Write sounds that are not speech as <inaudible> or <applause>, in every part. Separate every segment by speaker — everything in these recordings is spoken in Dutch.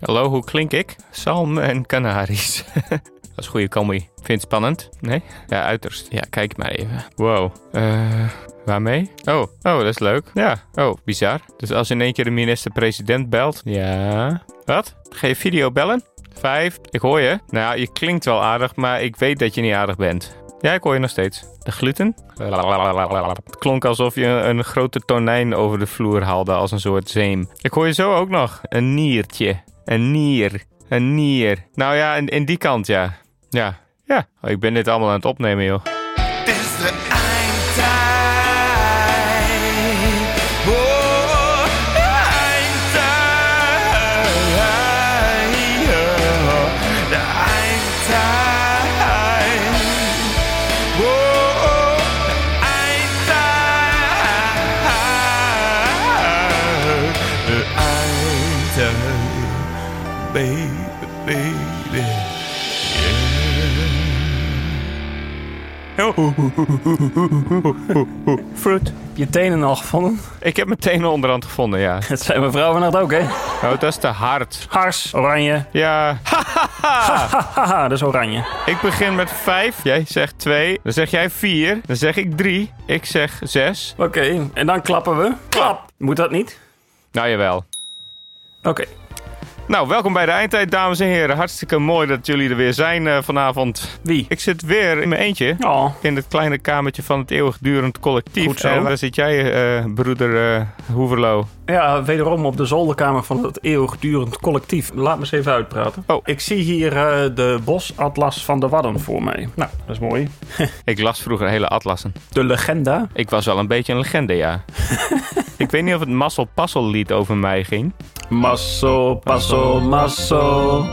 Speaker 1: Hallo, hoe klink ik? Salm en Canaries. <laughs> Dat is goede comedy. Vind je het spannend? Nee? Ja, uiterst. Ja, kijk maar even. Wow. Eh, waarmee? Oh, oh, dat is leuk. Ja. Oh, bizar. Dus als in één keer de minister-president belt. Ja. Wat? Ga je video bellen? Vijf. Ik hoor je. Nou, je klinkt wel aardig, maar ik weet dat je niet aardig bent. Ja, ik hoor je nog steeds. De gluten? Het klonk alsof je een grote tonijn over de vloer haalde als een soort zeem. Ik hoor je zo ook nog. Een niertje. Een nier. Een nier. Nou ja, in, in die kant ja. Ja. Ja. Oh, ik ben dit allemaal aan het opnemen, joh.
Speaker 2: Het is de eindtijd. Oh, eindtijd. Oh, de eindtijd. Oh, oh, de eindtijd. De eindtijd. Baby, baby.
Speaker 1: Fruit.
Speaker 3: Heb je tenen al gevonden? <laughs>
Speaker 1: Ik heb mijn tenen onderhand gevonden, ja.
Speaker 3: Dat zei mijn vrouw vannacht ook, hè?
Speaker 1: Oh, dat is te hard.
Speaker 3: Hars, oranje.
Speaker 1: Ja.
Speaker 3: Ah. Haha, dat is oranje.
Speaker 1: Ik begin met vijf. Jij zegt twee. Dan zeg jij vier. Dan zeg ik drie. Ik zeg zes.
Speaker 3: Oké, en dan klappen we. Klap! Moet dat niet?
Speaker 1: Nou, jawel.
Speaker 3: Oké.
Speaker 1: Nou, welkom bij de Eindtijd, dames en heren. Hartstikke mooi dat jullie er weer zijn eh, vanavond.
Speaker 3: Wie?
Speaker 1: Ik zit weer in mijn eentje.
Speaker 3: Oh,
Speaker 1: In het kleine kamertje van het eeuwigdurend collectief.
Speaker 3: Goed zo.
Speaker 1: En daar zit jij, eh, broeder eh Hoeverlo.
Speaker 3: ja, wederom op de zolderkamer van het eeuwigdurend collectief. Laat me eens even uitpraten.
Speaker 1: Oh.
Speaker 3: Ik zie hier eh, de bosatlas van de Wadden voor mij. Nou, dat is mooi.
Speaker 1: Ik las vroeger hele atlassen.
Speaker 3: De legenda.
Speaker 1: Ik was wel een beetje een legende, ja. <laughs> Ik weet niet of het Massel Passel lied over mij ging.
Speaker 3: Masso, passo, masso.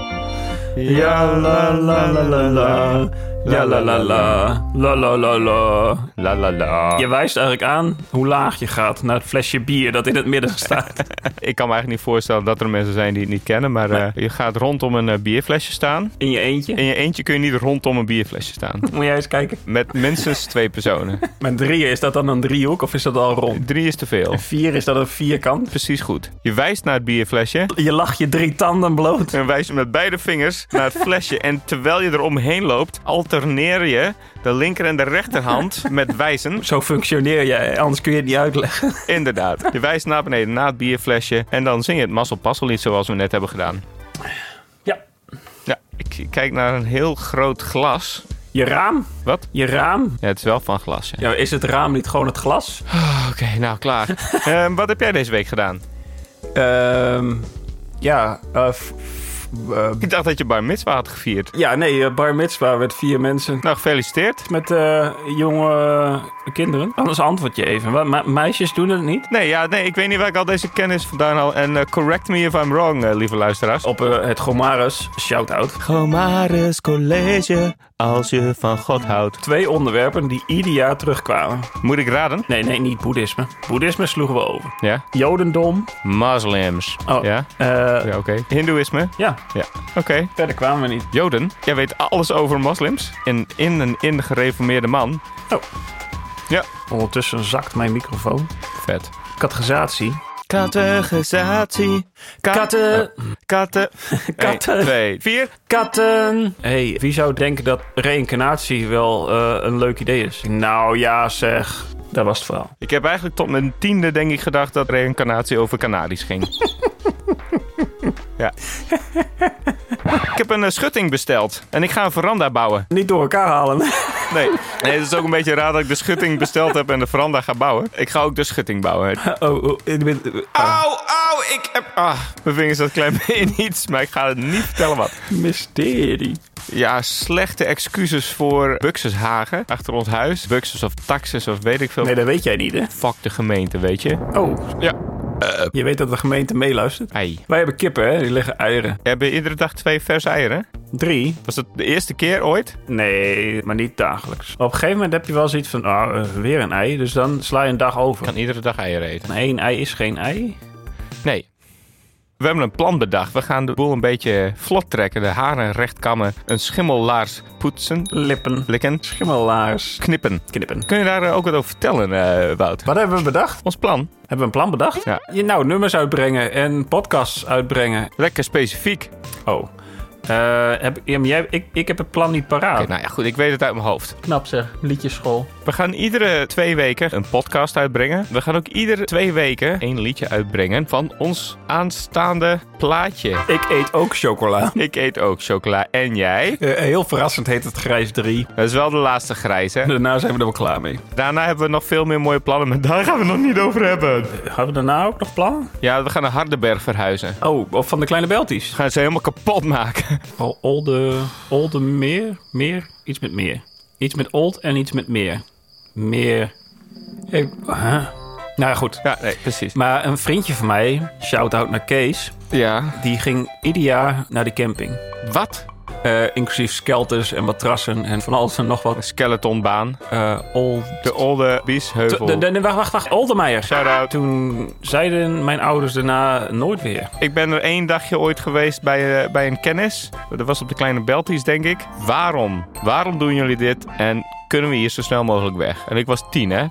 Speaker 3: Ja la la la la la. Ja la la la. La la la la.
Speaker 1: La la la.
Speaker 3: Je wijst eigenlijk aan hoe laag je gaat naar het flesje bier dat in het midden staat.
Speaker 1: Ik kan me eigenlijk niet voorstellen dat er mensen zijn die het niet kennen. Maar eh, je gaat rondom een eh, bierflesje staan.
Speaker 3: In je eentje.
Speaker 1: In je eentje kun je niet rondom een bierflesje staan.
Speaker 3: Moet jij eens kijken.
Speaker 1: Met minstens twee personen.
Speaker 3: Met drieën, is dat dan een driehoek of is dat al rond?
Speaker 1: Drie is te veel.
Speaker 3: Vier, is dat een vierkant?
Speaker 1: Precies goed. Je wijst naar het bierflesje.
Speaker 3: Je lacht je drie tanden bloot.
Speaker 1: En wijst met beide vingers naar het flesje. En terwijl je eromheen loopt, alterneer je de linker en de rechterhand met wijzen.
Speaker 3: Zo functioneer jij, anders kun je het niet uitleggen.
Speaker 1: Inderdaad. Je wijst naar beneden, naar het bierflesje. En dan zing je het Mazzel Passel lied zoals we net hebben gedaan.
Speaker 3: Ja.
Speaker 1: Ja, ik kijk naar een heel groot glas.
Speaker 3: Je raam?
Speaker 1: Wat?
Speaker 3: Je raam?
Speaker 1: Ja, het is wel van glas. ja.
Speaker 3: Ja, is het raam niet gewoon het glas?
Speaker 1: Oké, nou klaar. <laughs> Ehm, wat heb jij deze week gedaan?
Speaker 3: Ehm ja, eh, f- f- eh,
Speaker 1: Ik dacht dat je bar mitzwa had gevierd.
Speaker 3: ja, nee, eh, bar mitzwa met vier mensen.
Speaker 1: Nou, gefeliciteerd.
Speaker 3: Met eh, jonge eh, kinderen. Anders antwoord je even. Wat, me- meisjes doen het niet?
Speaker 1: Nee, ja, nee, ik weet niet waar ik al deze kennis vandaan haal. En eh, correct me if I'm wrong, eh, lieve luisteraars.
Speaker 3: Op eh, het Gomarus, shout-out.
Speaker 1: Gomaris College, als je van God houdt.
Speaker 3: Twee onderwerpen die ieder jaar terugkwamen.
Speaker 1: Moet ik raden?
Speaker 3: Nee, nee, niet boeddhisme. Boeddhisme sloegen we over.
Speaker 1: Ja.
Speaker 3: Jodendom.
Speaker 1: Moslims.
Speaker 3: Oh.
Speaker 1: Ja?
Speaker 3: eh, ja.
Speaker 1: Ja, oké. Hindoeïsme? Ja. Oké.
Speaker 3: verder kwamen we niet.
Speaker 1: Joden? Jij weet alles over moslims. En in een in gereformeerde man.
Speaker 3: Ondertussen zakt mijn microfoon.
Speaker 1: Vet.
Speaker 3: Categorisatie.
Speaker 1: Categorisatie. Katten. <laughs> Katten.
Speaker 3: Katten.
Speaker 1: Eén, twee, vier.
Speaker 3: Katten. hey, wie zou denken dat reïncarnatie wel eh, een leuk idee is? Nou ja, zeg. Dat was het verhaal.
Speaker 1: Ik heb eigenlijk tot mijn tiende, denk ik, gedacht dat reïncarnatie over Canaries <laughs> ging. ja. ik heb een eh, schutting besteld en ik ga een veranda bouwen.
Speaker 3: Niet door elkaar halen. <laughs>
Speaker 1: Nee. nee, het is ook een beetje raar dat ik de schutting besteld heb en de veranda ga bouwen. Ik ga ook de schutting bouwen.
Speaker 3: oh, oh, ik ben-
Speaker 1: Au, au, ik heb... Ah, mijn vingers zat klein <laughs> in iets, maar ik ga het niet vertellen wat.
Speaker 3: mysterie.
Speaker 1: Ja, slechte excuses voor Buxushagen achter ons huis. Buxus of Taxus of weet ik veel.
Speaker 3: Nee, dat weet jij niet, hè?
Speaker 1: Fuck de gemeente, weet je.
Speaker 3: Oh,
Speaker 1: Ja.
Speaker 3: je weet dat de gemeente meeluistert.
Speaker 1: Ei.
Speaker 3: Wij hebben kippen, hè? Die leggen eieren.
Speaker 1: Hebben iedere dag twee verse eieren?
Speaker 3: Drie?
Speaker 1: Was dat de eerste keer ooit?
Speaker 3: Nee, maar niet dagelijks. Op een gegeven moment heb je wel zoiets van, ah, eh, weer een ei. Dus dan sla je een dag over.
Speaker 1: iedere dag eieren eten.
Speaker 3: Eén ei is geen ei.
Speaker 1: Nee. We hebben een plan bedacht. We gaan de boel een beetje vlot trekken. De haren recht kammen. Een schimmellaars poetsen.
Speaker 3: Lippen.
Speaker 1: Likken.
Speaker 3: Schimmellaars.
Speaker 1: Knippen.
Speaker 3: Knippen.
Speaker 1: Kun je daar eh, ook wat over vertellen, eh Wout?
Speaker 3: Wat hebben we bedacht?
Speaker 1: Ons plan.
Speaker 3: Hebben we een plan bedacht?
Speaker 1: Ja.
Speaker 3: Je, nou, nummers uitbrengen en podcasts uitbrengen.
Speaker 1: Lekker specifiek.
Speaker 3: Oh. Eh, heb, ja, maar jij, ik, ik heb het plan niet paraat.
Speaker 1: Oké, nou ja, goed. Ik weet het uit mijn hoofd.
Speaker 4: Knap zeg, liedjeschool.
Speaker 1: We gaan iedere twee weken een podcast uitbrengen. We gaan ook iedere twee weken één liedje uitbrengen van ons aanstaande plaatje.
Speaker 3: Ik eet ook chocola.
Speaker 1: Ik eet ook chocola. En jij?
Speaker 3: Eh, heel verrassend heet het grijs 3.
Speaker 1: Dat is wel de laatste grijs, hè?
Speaker 3: Daarna zijn we er wel klaar mee.
Speaker 1: Daarna hebben we nog veel meer mooie plannen, maar daar gaan we het nog niet over hebben.
Speaker 3: Hadden we daarna ook nog plannen?
Speaker 1: Ja, we gaan naar Hardenberg verhuizen.
Speaker 3: Oh, of van de kleine Belties.
Speaker 1: We gaan ze helemaal kapot maken.
Speaker 3: Al olde, olde meer, meer, iets met meer. Iets met old en iets met meer. Meer. Ik, huh? Nou ja, goed.
Speaker 1: Ja, nee, precies.
Speaker 3: Maar een vriendje van mij, shout-out naar Kees,
Speaker 1: Ja.
Speaker 3: die ging ieder jaar naar de camping.
Speaker 1: Wat?
Speaker 3: Eh, inclusief skelters en matrassen en van alles en nog
Speaker 1: Een
Speaker 3: wat.
Speaker 1: skeletonbaan.
Speaker 3: Eh old...
Speaker 1: De Olde Biesheuvel.
Speaker 3: De, de, de- wacht, wacht, wacht. Oldemeijer.
Speaker 1: Shout-out.
Speaker 3: Toen zeiden mijn ouders daarna nooit weer. <laughs>
Speaker 1: Ik ben er één dagje ooit geweest bij, eh, bij een kennis. Dat was op de Kleine Belties, denk ik. Waarom? Waarom doen jullie dit? En kunnen we hier zo snel mogelijk weg? En ik was tien, hè?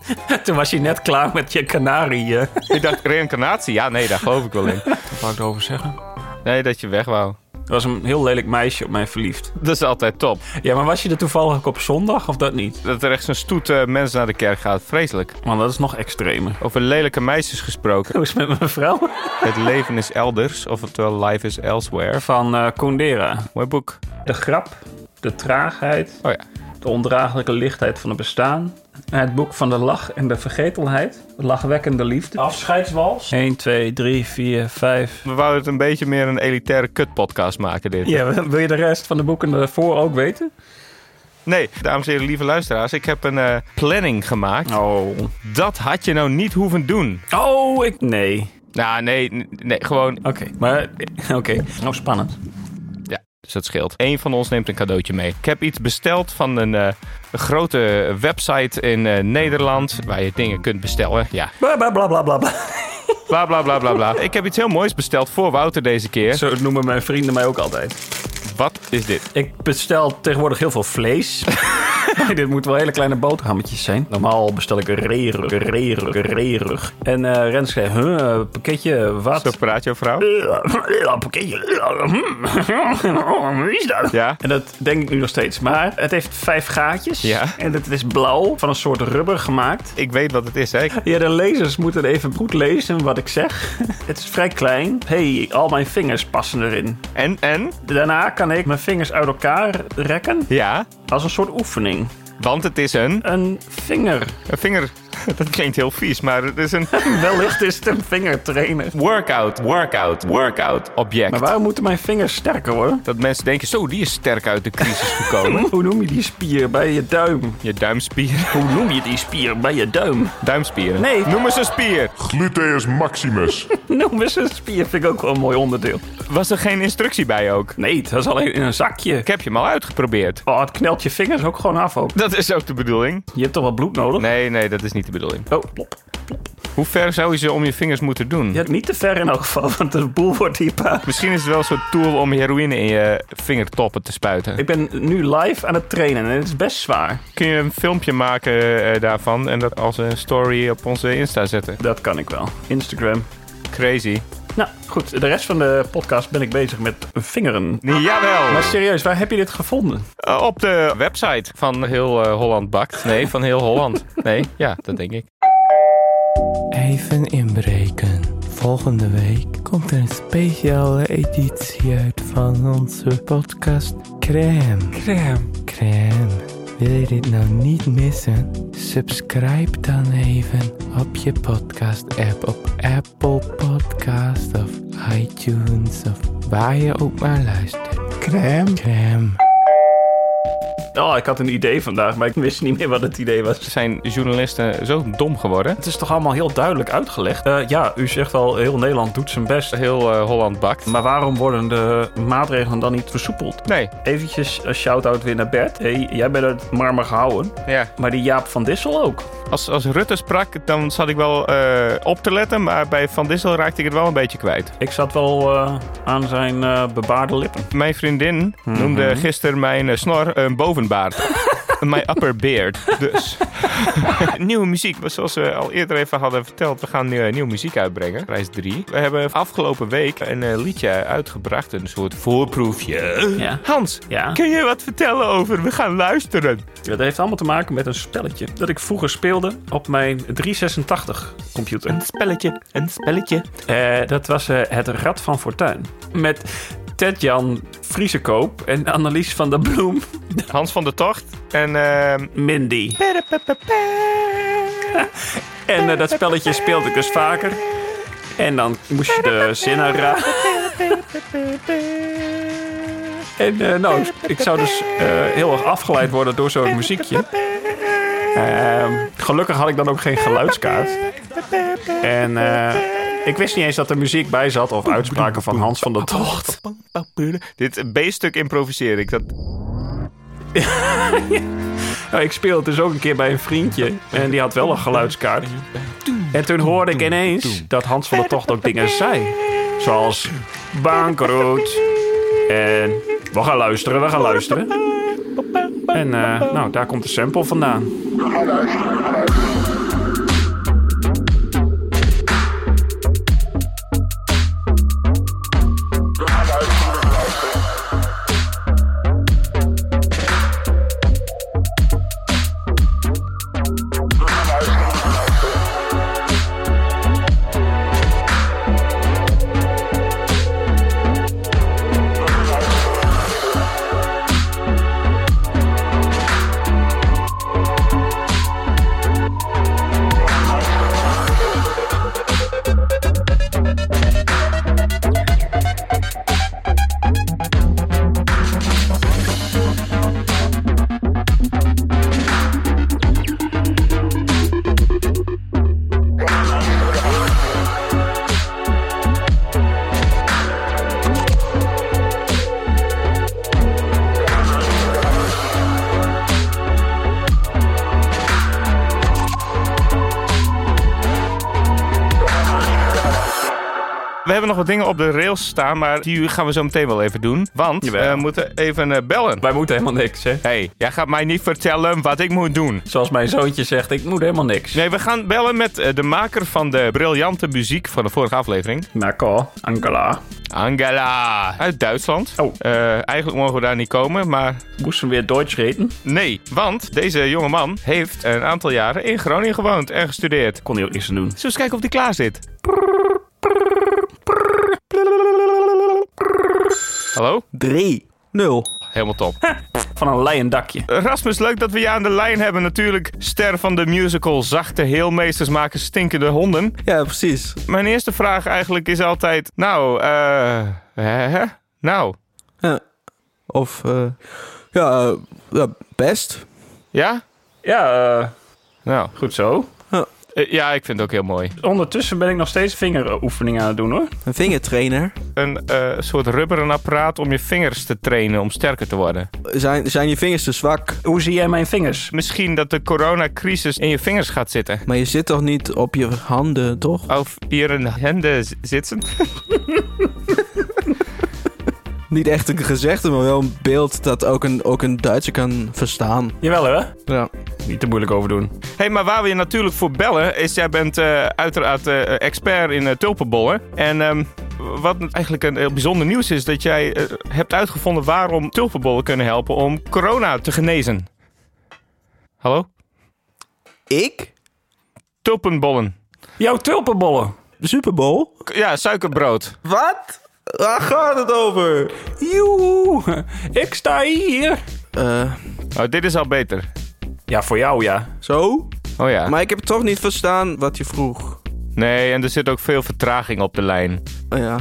Speaker 3: Toen was je net klaar met je kanarie. eh.
Speaker 1: ik dacht, <laughs> reïncarnatie? Ja, nee, daar geloof ik wel in.
Speaker 3: Wat wou ik erover zeggen?
Speaker 1: Nee, dat je weg wou.
Speaker 3: Er was een heel lelijk meisje op mij verliefd.
Speaker 1: Dat is altijd top.
Speaker 3: Ja, maar was je er toevallig ook op zondag of dat niet?
Speaker 1: Dat er echt zo'n stoet eh, mensen naar de kerk gaat. Vreselijk.
Speaker 3: Want dat is nog extremer.
Speaker 1: Over lelijke meisjes gesproken.
Speaker 3: Hoe is het met mijn vrouw?
Speaker 1: Het leven is elders, oftewel life is elsewhere.
Speaker 3: Van eh Kundera.
Speaker 1: Mooi boek.
Speaker 3: De grap, de traagheid,
Speaker 1: Oh ja.
Speaker 3: de ondraaglijke lichtheid van het bestaan. Het boek van de lach en de vergetelheid. Lachwekkende liefde. Afscheidswals. 1, 2, 3, 4, 5.
Speaker 1: We wouden het een beetje meer een elitaire kutpodcast maken, dit.
Speaker 3: Ja, wil je de rest van de boeken daarvoor ook weten?
Speaker 1: Nee, dames en heren, lieve luisteraars. Ik heb een eh, planning gemaakt.
Speaker 3: Oh.
Speaker 1: Dat had je nou niet hoeven doen.
Speaker 3: Oh, ik... Nee.
Speaker 1: Nou, nee, n- nee, gewoon.
Speaker 3: Oké, maar... <laughs> Oké. Nou, spannend.
Speaker 1: Ja, dus dat scheelt. Eén van ons neemt een cadeautje mee. Ik heb iets besteld van een eh, een grote website in eh, Nederland. Waar je dingen kunt bestellen. Ja,
Speaker 3: Bla, bla, bla, bla, bla, bla.
Speaker 1: bla bla bla bla bla. Ik heb iets heel moois besteld voor Wouter deze keer.
Speaker 3: Zo noemen mijn vrienden mij ook altijd.
Speaker 1: Wat is dit?
Speaker 3: Ik bestel tegenwoordig heel veel <laughs> vlees. Dit moeten wel hele kleine boterhammetjes zijn. Normaal bestel ik reerig, reerig, reerig. En eh Rens zei, huh, eh, pakketje, wat?
Speaker 1: Zo praat jouw vrouw?
Speaker 3: Ja, pakketje. hmm. <laughs> Wie is dat?
Speaker 1: Ja.
Speaker 3: En dat denk ik nu nog steeds. Maar het heeft vijf gaatjes.
Speaker 1: Ja.
Speaker 3: En het is blauw, van een soort rubber gemaakt.
Speaker 1: Ik weet wat het is, hè?
Speaker 3: Ja, de lezers moeten even goed lezen wat ik zeg. <laughs> het is vrij klein. hey, al mijn vingers passen erin.
Speaker 1: En, en?
Speaker 3: Daarna kan ik mijn vingers uit elkaar rekken
Speaker 1: Ja,
Speaker 3: als een soort oefening.
Speaker 1: want het is een,
Speaker 3: Een vinger. <laughs>
Speaker 1: een vinger. <laughs> Dat klinkt heel vies, maar het is een
Speaker 3: Wellicht is het een vingertrainer.
Speaker 1: workout, workout, workout
Speaker 3: Maar
Speaker 1: object.
Speaker 3: waarom moeten mijn vingers sterker worden?
Speaker 1: Dat mensen denken, zo, die is sterk uit de crisis
Speaker 3: <laughs>
Speaker 1: gekomen.
Speaker 3: Hoe noem je die spier bij je duim?
Speaker 1: Je duimspieren.
Speaker 3: Hoe noem je die spier bij je duim?
Speaker 1: Duimspieren.
Speaker 3: Nee.
Speaker 1: Noem eens een spier.
Speaker 2: Gluteus maximus.
Speaker 3: Noem eens een spier, vind ik ook wel een mooi onderdeel.
Speaker 1: Was er geen instructie bij ook?
Speaker 3: Nee, dat is alleen in een zakje.
Speaker 1: Ik heb je hem al uitgeprobeerd.
Speaker 3: Oh, het knelt je vingers ook gewoon af ook.
Speaker 1: Dat is ook de bedoeling.
Speaker 3: Je hebt toch wel bloed nodig?
Speaker 1: Nee, nee, dat is niet de bedoeling.
Speaker 3: Oh, plop.
Speaker 1: Hoe ver zou je ze om je vingers moeten doen?
Speaker 3: Ja, niet te ver in elk geval, want de boel wordt hier pa.
Speaker 1: Misschien is het wel zo'n tool om heroïne in je vingertoppen te spuiten.
Speaker 3: Ik ben nu live aan het trainen en het is best zwaar.
Speaker 1: Kun je een filmpje maken eh, daarvan en dat als een story op onze Insta zetten?
Speaker 3: Dat kan ik wel. Instagram.
Speaker 1: Crazy.
Speaker 3: Nou, goed. De rest van de podcast ben ik bezig met vingeren. Maar
Speaker 1: Jawel!
Speaker 3: serieus, waar heb je dit gevonden?
Speaker 1: Eh, Op de website van heel eh, Holland Bakt. Nee, van heel Holland. Nee, ja, dat denk ik.
Speaker 4: Even inbreken. Volgende week komt er een speciale editie uit van onze podcast Crème.
Speaker 3: Crème.
Speaker 4: Crème. Wil je dit nou niet missen? Subscribe dan even op je podcast app op Apple Podcast of iTunes of waar je ook maar luistert.
Speaker 3: Crème.
Speaker 4: Crème.
Speaker 3: Oh, ik had een idee vandaag, maar ik wist niet meer wat het idee was.
Speaker 1: Zijn journalisten zo dom geworden?
Speaker 3: Het is toch allemaal heel duidelijk uitgelegd? Eh, ja, u zegt al, heel Nederland doet zijn best.
Speaker 1: Heel eh, Holland bakt.
Speaker 3: Maar waarom worden de maatregelen dan niet versoepeld?
Speaker 1: Nee,
Speaker 3: Eventjes een shout-out weer naar Bert. hey, jij bent uit Marmer gehouden.
Speaker 1: ja.
Speaker 3: Maar die Jaap van Dissel ook.
Speaker 1: Als, als Rutte sprak, dan zat ik wel eh, op te letten. Maar bij Van Dissel raakte ik het wel een beetje kwijt.
Speaker 3: Ik zat wel eh, aan zijn eh, bebaarde lippen.
Speaker 1: Mijn vriendin noemde gisteren mijn eh, snor een bovenbaard. <laughs> mijn upper beard, dus. <laughs> nieuwe muziek. Maar Zoals we al eerder even hadden verteld, we gaan eh, nieuwe muziek uitbrengen. Prijs 3. We hebben afgelopen week een eh, liedje uitgebracht. Een soort voorproefje.
Speaker 3: Ja.
Speaker 1: Hans,
Speaker 3: Ja.
Speaker 1: kun je wat vertellen over We gaan luisteren?
Speaker 3: Dat heeft allemaal te maken met een spelletje dat ik vroeger speelde op mijn 386 computer.
Speaker 1: Spelletje, een spelletje.
Speaker 3: Eh, dat was eh, Het Rad van Fortuin. Met Ted-Jan Vriesekoop en Annelies van der Bloem. <laughs>
Speaker 1: Hans van der Tocht en... ehm,
Speaker 3: Mindy. En eh, dat spelletje speelde ik dus vaker. En dan moest je de zinnen raden. En eh, nou, ik zou dus eh, heel erg afgeleid worden door zo'n muziekje. Ehm, gelukkig had ik dan ook geen geluidskaart. En eh, ik wist niet eens dat er muziek bij zat of uitspraken van Hans van der Tocht.
Speaker 1: Dit B-stuk improviseer ik. Dat,
Speaker 3: Nou, ik speelde dus ook een keer bij een vriendje. En die had wel een geluidskaart. En toen hoorde ik ineens dat Hans van der Tocht ook dingen zei. Zoals bankroet. En we gaan luisteren, we gaan luisteren. En eh, nou, daar komt de sample vandaan.
Speaker 1: we hebben nog wat dingen op de rails staan, maar die gaan we zo meteen wel even doen. Want
Speaker 3: Jawel.
Speaker 1: we moeten even eh, bellen.
Speaker 3: Wij moeten helemaal niks, hè?
Speaker 1: hey, jij gaat mij niet vertellen wat ik moet doen.
Speaker 3: Zoals mijn zoontje zegt, ik moet helemaal niks.
Speaker 1: Nee, we gaan bellen met eh, de maker van de briljante muziek van de vorige aflevering.
Speaker 3: Nako, Ankara.
Speaker 1: Angela. Uit Duitsland.
Speaker 3: Oh.
Speaker 1: Eh, eigenlijk mogen we daar niet komen, maar
Speaker 3: Moesten weer Duits reden?
Speaker 1: nee. Want deze jongeman heeft een aantal jaren in Groningen gewoond en gestudeerd.
Speaker 3: Kon hij ook niks aan doen.
Speaker 1: Zullen we eens kijken of die klaar zit? Hallo?
Speaker 3: 3, 0.
Speaker 1: Helemaal <laughs> top.
Speaker 3: Van een leien dakje.
Speaker 1: Rasmus, leuk dat we je aan de lijn hebben natuurlijk. Ster van de musical Zachte Heelmeesters maken stinkende honden.
Speaker 5: Ja, precies.
Speaker 1: Mijn eerste vraag eigenlijk is altijd... Nou, eh... hè? Nou,
Speaker 5: Ja. Of, eh, ja, eh, ja, best.
Speaker 1: ja?
Speaker 3: Ja, eh,
Speaker 1: Nou,
Speaker 3: goed zo.
Speaker 1: eh, ja, ik vind het ook heel mooi.
Speaker 3: Ondertussen ben ik nog steeds vingeroefeningen aan het doen hoor.
Speaker 5: Een vingertrainer.
Speaker 1: Een eh, soort rubberen apparaat om je vingers te trainen om sterker te worden.
Speaker 5: Zijn, zijn je vingers te zwak?
Speaker 3: Hoe zie jij mijn vingers?
Speaker 1: Misschien dat de coronacrisis in je vingers gaat zitten.
Speaker 5: Maar je zit toch niet op je handen, toch?
Speaker 1: Of hier in handen z- zitten.
Speaker 5: Niet echt een gezegde, maar wel een beeld dat ook een, ook een Duitser kan verstaan.
Speaker 3: Jawel hè?
Speaker 5: Ja.
Speaker 3: Niet te moeilijk over doen.
Speaker 1: Hé, hey, maar waar we je natuurlijk voor bellen is, jij bent eh, uiteraard eh, expert in eh, tulpenbollen. En ehm, wat eigenlijk een heel bijzonder nieuws is, dat jij eh, hebt uitgevonden waarom tulpenbollen kunnen helpen om corona te genezen. Hallo?
Speaker 5: Ik?
Speaker 1: Tulpenbollen.
Speaker 3: Jouw tulpenbollen.
Speaker 5: Super Bowl?
Speaker 1: K- Ja, suikerbrood.
Speaker 5: Wat? Waar gaat het over?
Speaker 3: Joehoe, ik sta hier.
Speaker 5: Eh,
Speaker 1: Oh, dit is al beter.
Speaker 3: Ja, voor jou ja.
Speaker 5: zo?
Speaker 1: Oh ja.
Speaker 5: Maar ik heb toch niet verstaan wat je vroeg.
Speaker 1: Nee, en er zit ook veel vertraging op de lijn.
Speaker 5: Oh, ja.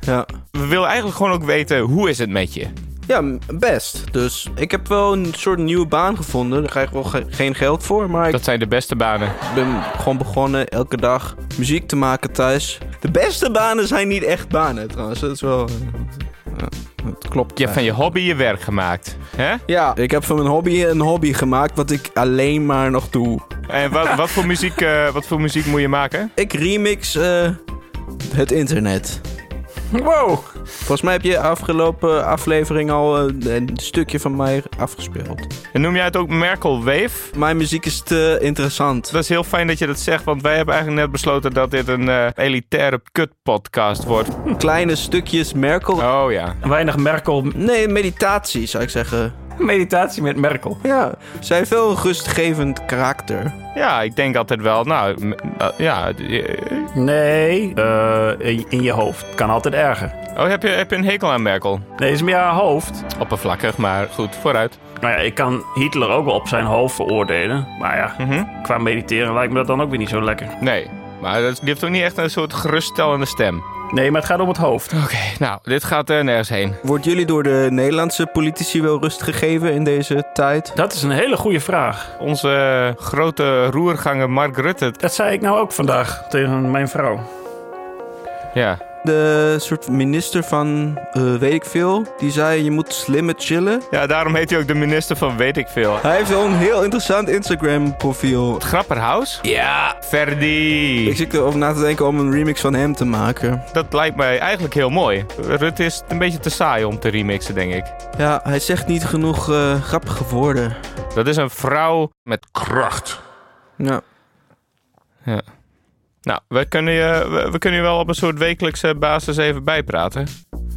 Speaker 5: Ja.
Speaker 1: We willen eigenlijk gewoon ook weten, hoe is het met je?
Speaker 5: Ja, m- best. Dus ik heb wel een soort nieuwe baan gevonden. Daar krijg ik wel ge- geen geld voor. Maar
Speaker 1: Dat zijn de beste banen.
Speaker 5: ik ben gewoon begonnen elke dag muziek te maken thuis. De beste banen zijn niet echt banen trouwens. Dat is wel... eh, ja, dat klopt.
Speaker 1: Je hebt van je hobby je werk gemaakt. Hè?
Speaker 5: Ja, ik heb van mijn hobby een hobby gemaakt wat ik alleen maar nog doe.
Speaker 1: En wat, wat, voor muziek, eh, wat voor muziek moet je maken?
Speaker 5: Ik remix eh, het internet.
Speaker 3: Wow.
Speaker 5: Volgens mij heb je afgelopen aflevering al eh, een stukje van mij afgespeeld.
Speaker 1: En noem jij het ook Merkel Wave?
Speaker 5: Mijn muziek is te interessant.
Speaker 1: Dat is heel fijn dat je dat zegt, want wij hebben eigenlijk net besloten dat dit een eh, elitaire kutpodcast wordt.
Speaker 5: Kleine stukjes Merkel.
Speaker 1: Oh ja.
Speaker 3: Weinig Merkel.
Speaker 5: Nee, meditatie zou ik zeggen.
Speaker 3: Meditatie met Merkel.
Speaker 5: Ja, zij heeft wel een rustgevend karakter.
Speaker 1: Ja, ik denk altijd wel, nou, m- eh, ja. eh,
Speaker 3: Nee. eh, in in je hoofd. Kan altijd erger.
Speaker 1: Oh, heb je, heb je een hekel aan Merkel?
Speaker 3: Nee, is meer haar hoofd.
Speaker 1: Oppervlakkig, maar goed, vooruit.
Speaker 3: Nou ja, ik kan Hitler ook wel op zijn hoofd veroordelen. Maar ja,
Speaker 1: Mhm.
Speaker 3: qua mediteren lijkt me dat dan ook weer niet zo lekker.
Speaker 1: Nee, maar dat, die heeft ook niet echt een soort geruststellende stem.
Speaker 3: Nee, maar het gaat om het hoofd.
Speaker 1: Oké, nou, dit gaat er nergens heen.
Speaker 5: Wordt jullie door de Nederlandse politici wel rust gegeven in deze tijd?
Speaker 3: Dat is een hele goede vraag.
Speaker 1: Onze eh, grote roerganger Mark Rutte.
Speaker 3: Dat zei ik nou ook vandaag tegen mijn vrouw.
Speaker 1: Ja.
Speaker 5: De soort minister van eh, weet ik veel, die zei je moet slimmer chillen.
Speaker 1: ja, daarom heet hij ook de minister van weet ik veel.
Speaker 5: Hij heeft wel een heel interessant Instagram profiel.
Speaker 1: Grapperhaus? Ja.
Speaker 5: Ik
Speaker 1: Verdi.
Speaker 5: zit erover na te denken om een remix van hem te maken.
Speaker 1: Dat lijkt mij eigenlijk heel mooi. Rutte is een beetje te saai om te remixen, denk ik.
Speaker 5: Ja, hij zegt niet genoeg eh, grappige woorden.
Speaker 1: Dat is een vrouw met...
Speaker 2: Kracht.
Speaker 5: Ja.
Speaker 1: Nou, we kunnen je, we, we kunnen je wel op een soort wekelijkse basis even bijpraten.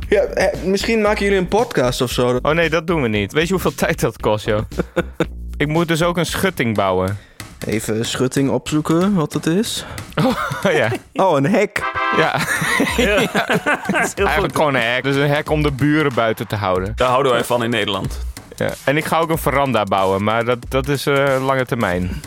Speaker 5: ja eh, misschien maken jullie een podcast of zo.
Speaker 1: Oh nee, dat doen we niet. Weet je hoeveel <laughs> tijd dat kost, joh? ik moet dus ook een schutting bouwen.
Speaker 5: Even schutting opzoeken wat dat is.
Speaker 1: Oh ja.
Speaker 5: Oh, een hek.
Speaker 1: Ja,
Speaker 3: Heel
Speaker 1: eigenlijk gewoon een hek. Dus een hek om de buren buiten te houden.
Speaker 3: Daar houden wij van in Nederland.
Speaker 1: Ja. En ik ga ook een veranda bouwen, maar dat, dat is eh, lange termijn.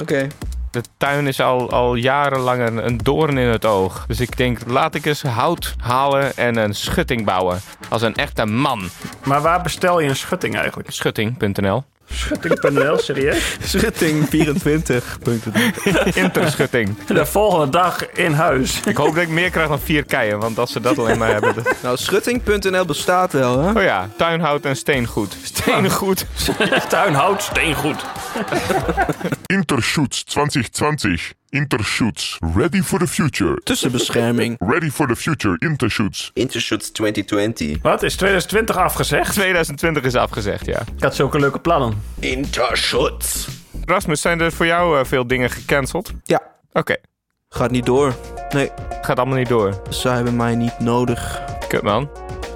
Speaker 5: Oké.
Speaker 1: De tuin is al, al jarenlang een, een doorn in het oog. Dus ik denk, laat ik eens hout halen en een schutting bouwen. Als een echte man.
Speaker 3: Maar waar bestel je een schutting eigenlijk?
Speaker 1: Schutting.nl
Speaker 3: Schutting.nl, serieus?
Speaker 5: <laughs> Schutting24.
Speaker 1: Interschutting.
Speaker 3: <laughs> De volgende dag in <laughs> huis.
Speaker 1: Ik hoop dat ik meer krijg dan vier keien, want als ze dat alleen maar hebben... dat-
Speaker 5: nou, schutting.nl bestaat wel, hè?
Speaker 1: Oh ja, tuinhout en steengoed. Dus Steengoed.
Speaker 3: Tuinhout, steengoed.
Speaker 2: Interschutz 2020. Interschutz. Ready for the future.
Speaker 5: Tussenbescherming.
Speaker 2: Ready for the future. Interschutz.
Speaker 5: Intershoots 2020.
Speaker 3: Wat, is 2020 afgezegd?
Speaker 1: 2020 is afgezegd, ja.
Speaker 3: Ik had zulke leuke plannen.
Speaker 5: Intershoots.
Speaker 1: Rasmus, zijn er voor jou eh, veel dingen gecanceld? Oké,
Speaker 5: Ja, gaat niet door. Nee,
Speaker 1: gaat allemaal niet door.
Speaker 5: ze hebben mij niet nodig.
Speaker 1: Kut man.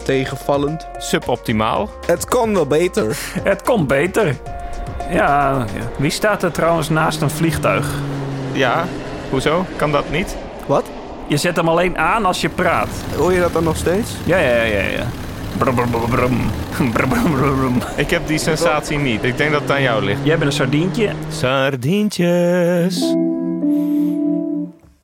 Speaker 5: Tegenvallend.
Speaker 1: Suboptimaal.
Speaker 5: Het kon wel beter.
Speaker 3: Het komt beter. Ja, ja. wie staat er trouwens naast een vliegtuig?
Speaker 1: Ja, hoezo? Kan dat niet?
Speaker 5: Wat?
Speaker 3: Je zet hem alleen aan als je praat.
Speaker 5: Hoor je dat dan nog steeds?
Speaker 3: Ja, ja, ja, ja. ja. Brum, brum, brum, brum. <laughs> Brum, brum, brum, brum.
Speaker 1: Ik heb die sensatie niet. Ik denk dat het aan jou ligt.
Speaker 3: Jij bent een sardientje.
Speaker 1: Sardientjes.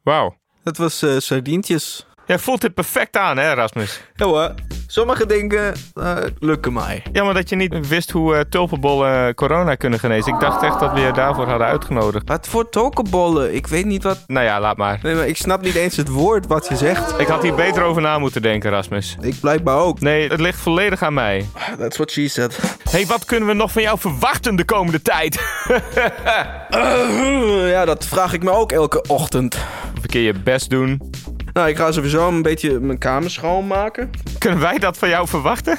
Speaker 1: Wauw.
Speaker 5: Dat was eh, sardientjes.
Speaker 1: Jij voelt dit perfect aan, hè, Rasmus?
Speaker 5: Ja hoor. Sommige dingen eh, lukken mij.
Speaker 1: Jammer dat je niet wist hoe eh, tulpenbollen eh, corona kunnen genezen. Ik dacht echt dat we je daarvoor hadden uitgenodigd.
Speaker 5: Wat voor tokenbollen? Ik weet niet wat...
Speaker 1: Nou ja, laat maar.
Speaker 5: Nee, maar ik snap niet eens het woord wat je zegt.
Speaker 1: Ik had hier beter over na moeten denken, Rasmus.
Speaker 5: Ik blijkbaar ook.
Speaker 1: Nee, het ligt volledig aan mij.
Speaker 5: That's what she said.
Speaker 1: Hé, hey, wat kunnen we nog van jou verwachten de komende tijd? <laughs>
Speaker 5: ja, dat vraag ik me ook elke ochtend.
Speaker 1: Een keer je best doen.
Speaker 5: Nou, ik ga sowieso een beetje mijn kamer schoonmaken.
Speaker 1: Kunnen wij dat van jou verwachten?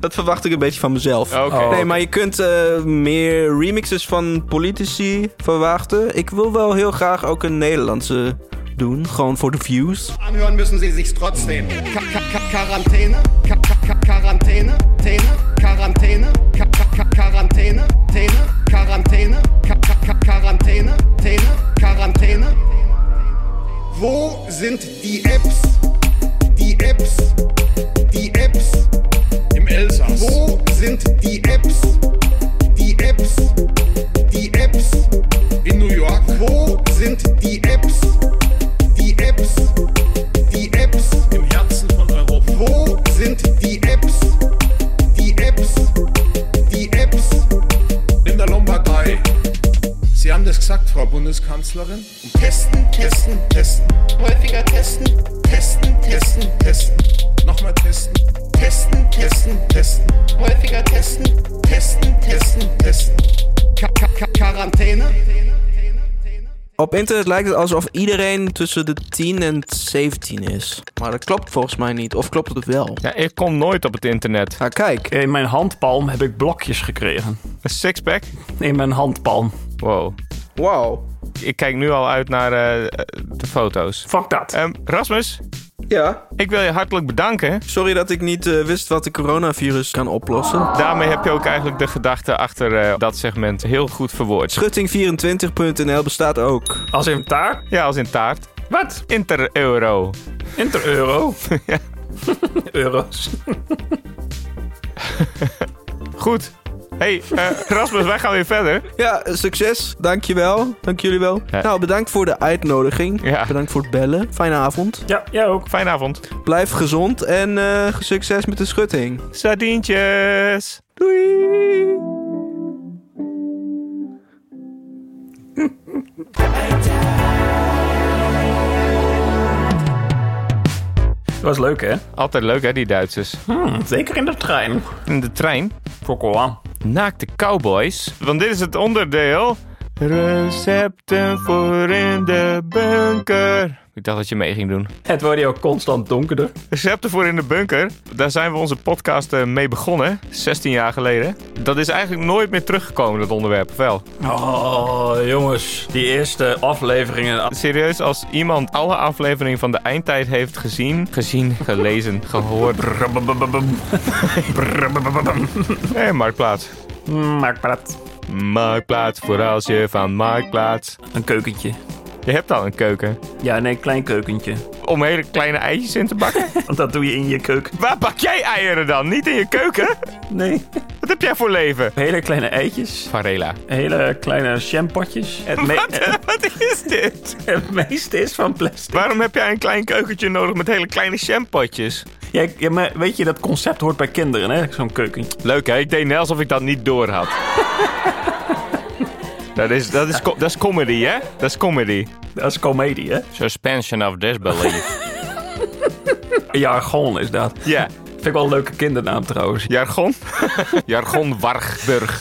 Speaker 5: Dat verwacht ik een beetje van mezelf.
Speaker 1: Oké.
Speaker 5: Nee, maar je kunt eh, meer remixes van politici verwachten. Ik wil wel heel graag ook een Nederlandse doen. Gewoon voor de views.
Speaker 6: Anhören müssen sie sich's trotzdem. Ka -ka -ka Quarantäne, Ka -ka -ka Quarantäne, Täne, Quarantäne, Ka -ka -ka Quarantäne, Täne, Quarantäne, Ka -ka -ka Quarantäne, Täne, Quarantäne. Wo sind die Apps? Die Apps, die Apps.
Speaker 7: Im Elsass.
Speaker 6: Wo sind die Apps? Die Apps, die Apps.
Speaker 7: In New York.
Speaker 6: Wo sind die Apps? Die Apps, die Apps.
Speaker 7: Im Herzen von Europa.
Speaker 6: Wo sind die Apps? Die Bundeskanzlerin? Und testen, testen, testen. Häufiger testen, testen, testen, testen. Nochmal testen. Testen, testen, testen. Häufiger testen, testen, testen, testen. Ka -ka -ka Quarantäne?
Speaker 5: Op internet lijkt het alsof iedereen tussen de 10 en 17 is. Maar dat klopt volgens mij niet. Of klopt het wel?
Speaker 1: Ja, ik kom nooit op het internet.
Speaker 5: Nou, kijk.
Speaker 3: In mijn handpalm heb ik blokjes gekregen.
Speaker 1: Een sixpack?
Speaker 3: In mijn handpalm.
Speaker 1: Wow.
Speaker 5: Wow.
Speaker 1: Ik kijk nu al uit naar eh, de foto's.
Speaker 3: Fuck dat.
Speaker 1: Ehm, Rasmus,
Speaker 5: Ja.
Speaker 1: ik wil je hartelijk bedanken.
Speaker 5: Sorry dat ik niet eh, wist wat de coronavirus kan oplossen.
Speaker 1: Daarmee heb je ook eigenlijk de gedachte achter eh, dat segment heel goed verwoord.
Speaker 5: Schutting24.nl bestaat ook.
Speaker 3: Als in taart?
Speaker 1: Ja, als in taart.
Speaker 3: Wat?
Speaker 1: Inter-euro.
Speaker 3: <laughs> Inter-euro. Euro's.
Speaker 1: Goed. hey, eh, <laughs> Rasmus, wij gaan weer verder.
Speaker 5: Ja, succes. Dankjewel. Dank jullie wel.
Speaker 1: Ja.
Speaker 5: Nou, bedankt voor de uitnodiging.
Speaker 1: Ja.
Speaker 5: Bedankt voor het bellen. Fijne avond.
Speaker 3: Ja, jij ook.
Speaker 1: Fijne avond.
Speaker 5: Blijf gezond en eh, succes met de schutting.
Speaker 1: Sardientjes. Doei.
Speaker 3: was leuk, hè?
Speaker 1: Altijd leuk, hè, die Duitsers.
Speaker 3: Zeker in de trein.
Speaker 1: In de trein.
Speaker 3: Chocola.
Speaker 1: Naakte cowboys. Want dit is het onderdeel. Recepten voor in de bunker. Ik dacht dat je mee ging doen.
Speaker 3: Het wordt hier ook constant donkerder.
Speaker 1: Recepten voor in de bunker. Daar zijn we onze podcast eh, mee begonnen. 16 jaar geleden. Dat is eigenlijk nooit meer teruggekomen, dat onderwerp. of Wel.
Speaker 3: Oh, jongens. Die eerste afleveringen.
Speaker 1: Serieus, als iemand alle afleveringen van de eindtijd heeft gezien, gezien, gelezen, gehoord. Hé, hey, Marktplaats.
Speaker 3: Mm, Maak maar dat.
Speaker 1: Marktplaats, voor als je van Marktplaats.
Speaker 3: Een keukentje.
Speaker 1: Je hebt al een keuken.
Speaker 3: Ja, nee, klein keukentje. <laughs>
Speaker 1: Om hele kleine eitjes in te bakken?
Speaker 3: Want dat doe je in je keuken.
Speaker 1: Waar bak jij eieren dan? Niet in je keuken?
Speaker 3: Nee.
Speaker 1: Wat heb jij voor leven?
Speaker 3: Hele kleine eitjes.
Speaker 1: Varela.
Speaker 3: Hele kleine shampotjes. Het, me-
Speaker 1: Wat, wat is dit?
Speaker 3: <laughs> het meeste is van plastic.
Speaker 1: Waarom heb jij een klein keukentje nodig met hele kleine shampootjes?
Speaker 3: Ja, ja, maar weet je, dat concept hoort bij kinderen, hè? Zo'n keukentje.
Speaker 1: Leuk hè? Ik deed net alsof ik dat niet door <laughs> had. dat, is, dat, is, co- dat is comedy hè? Dat is comedy.
Speaker 3: Dat is comedie, hè?
Speaker 1: Suspension of disbelief.
Speaker 3: Jargon is dat.
Speaker 1: <laughs> ja,
Speaker 3: Vind ik wel een leuke kindernaam trouwens.
Speaker 1: jargon. <laughs> jargon Wargburg.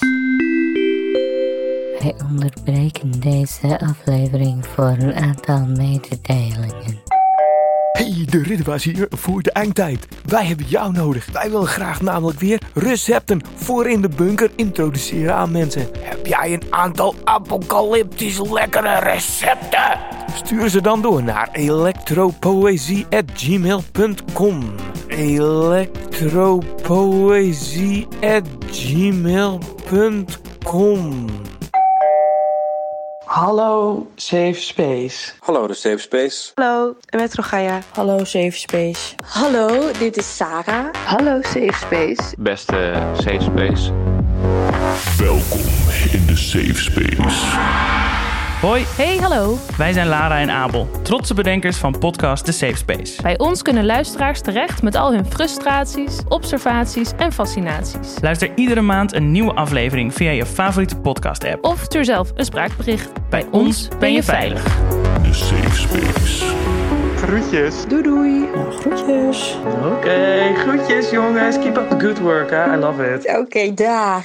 Speaker 8: Wij onderbreken deze aflevering voor een aantal mededelingen.
Speaker 4: Hey, de ridder was hier voor de eindtijd. Wij hebben jou nodig. Wij willen graag namelijk weer recepten voor in de bunker introduceren aan mensen. Heb jij een aantal apocalyptisch lekkere recepten? Stuur ze dan door naar electropoëzie@gmail.com. electropoëzie@gmail.com.
Speaker 9: Hallo Safe Space.
Speaker 10: Hallo, de Safe Space.
Speaker 9: Hallo Metro Gaia. Hallo Safe Space. Hallo, dit is Sarah. Hallo Safe Space.
Speaker 1: Beste safe space.
Speaker 2: Welkom in de safe space.
Speaker 11: Hoi,
Speaker 10: Hey, hallo.
Speaker 11: wij zijn Lara en Abel, trotse bedenkers van podcast The Safe Space.
Speaker 10: Bij ons kunnen luisteraars terecht met al hun frustraties, observaties en fascinaties.
Speaker 11: Luister iedere maand een nieuwe aflevering via je favoriete podcast-app.
Speaker 10: Of stuur zelf een spraakbericht.
Speaker 11: Bij ons ben je veilig.
Speaker 2: De safe space.
Speaker 9: Doei doei.
Speaker 11: Oké, groetjes jongens. Keep up the good work, I love it.
Speaker 9: Oké, dag.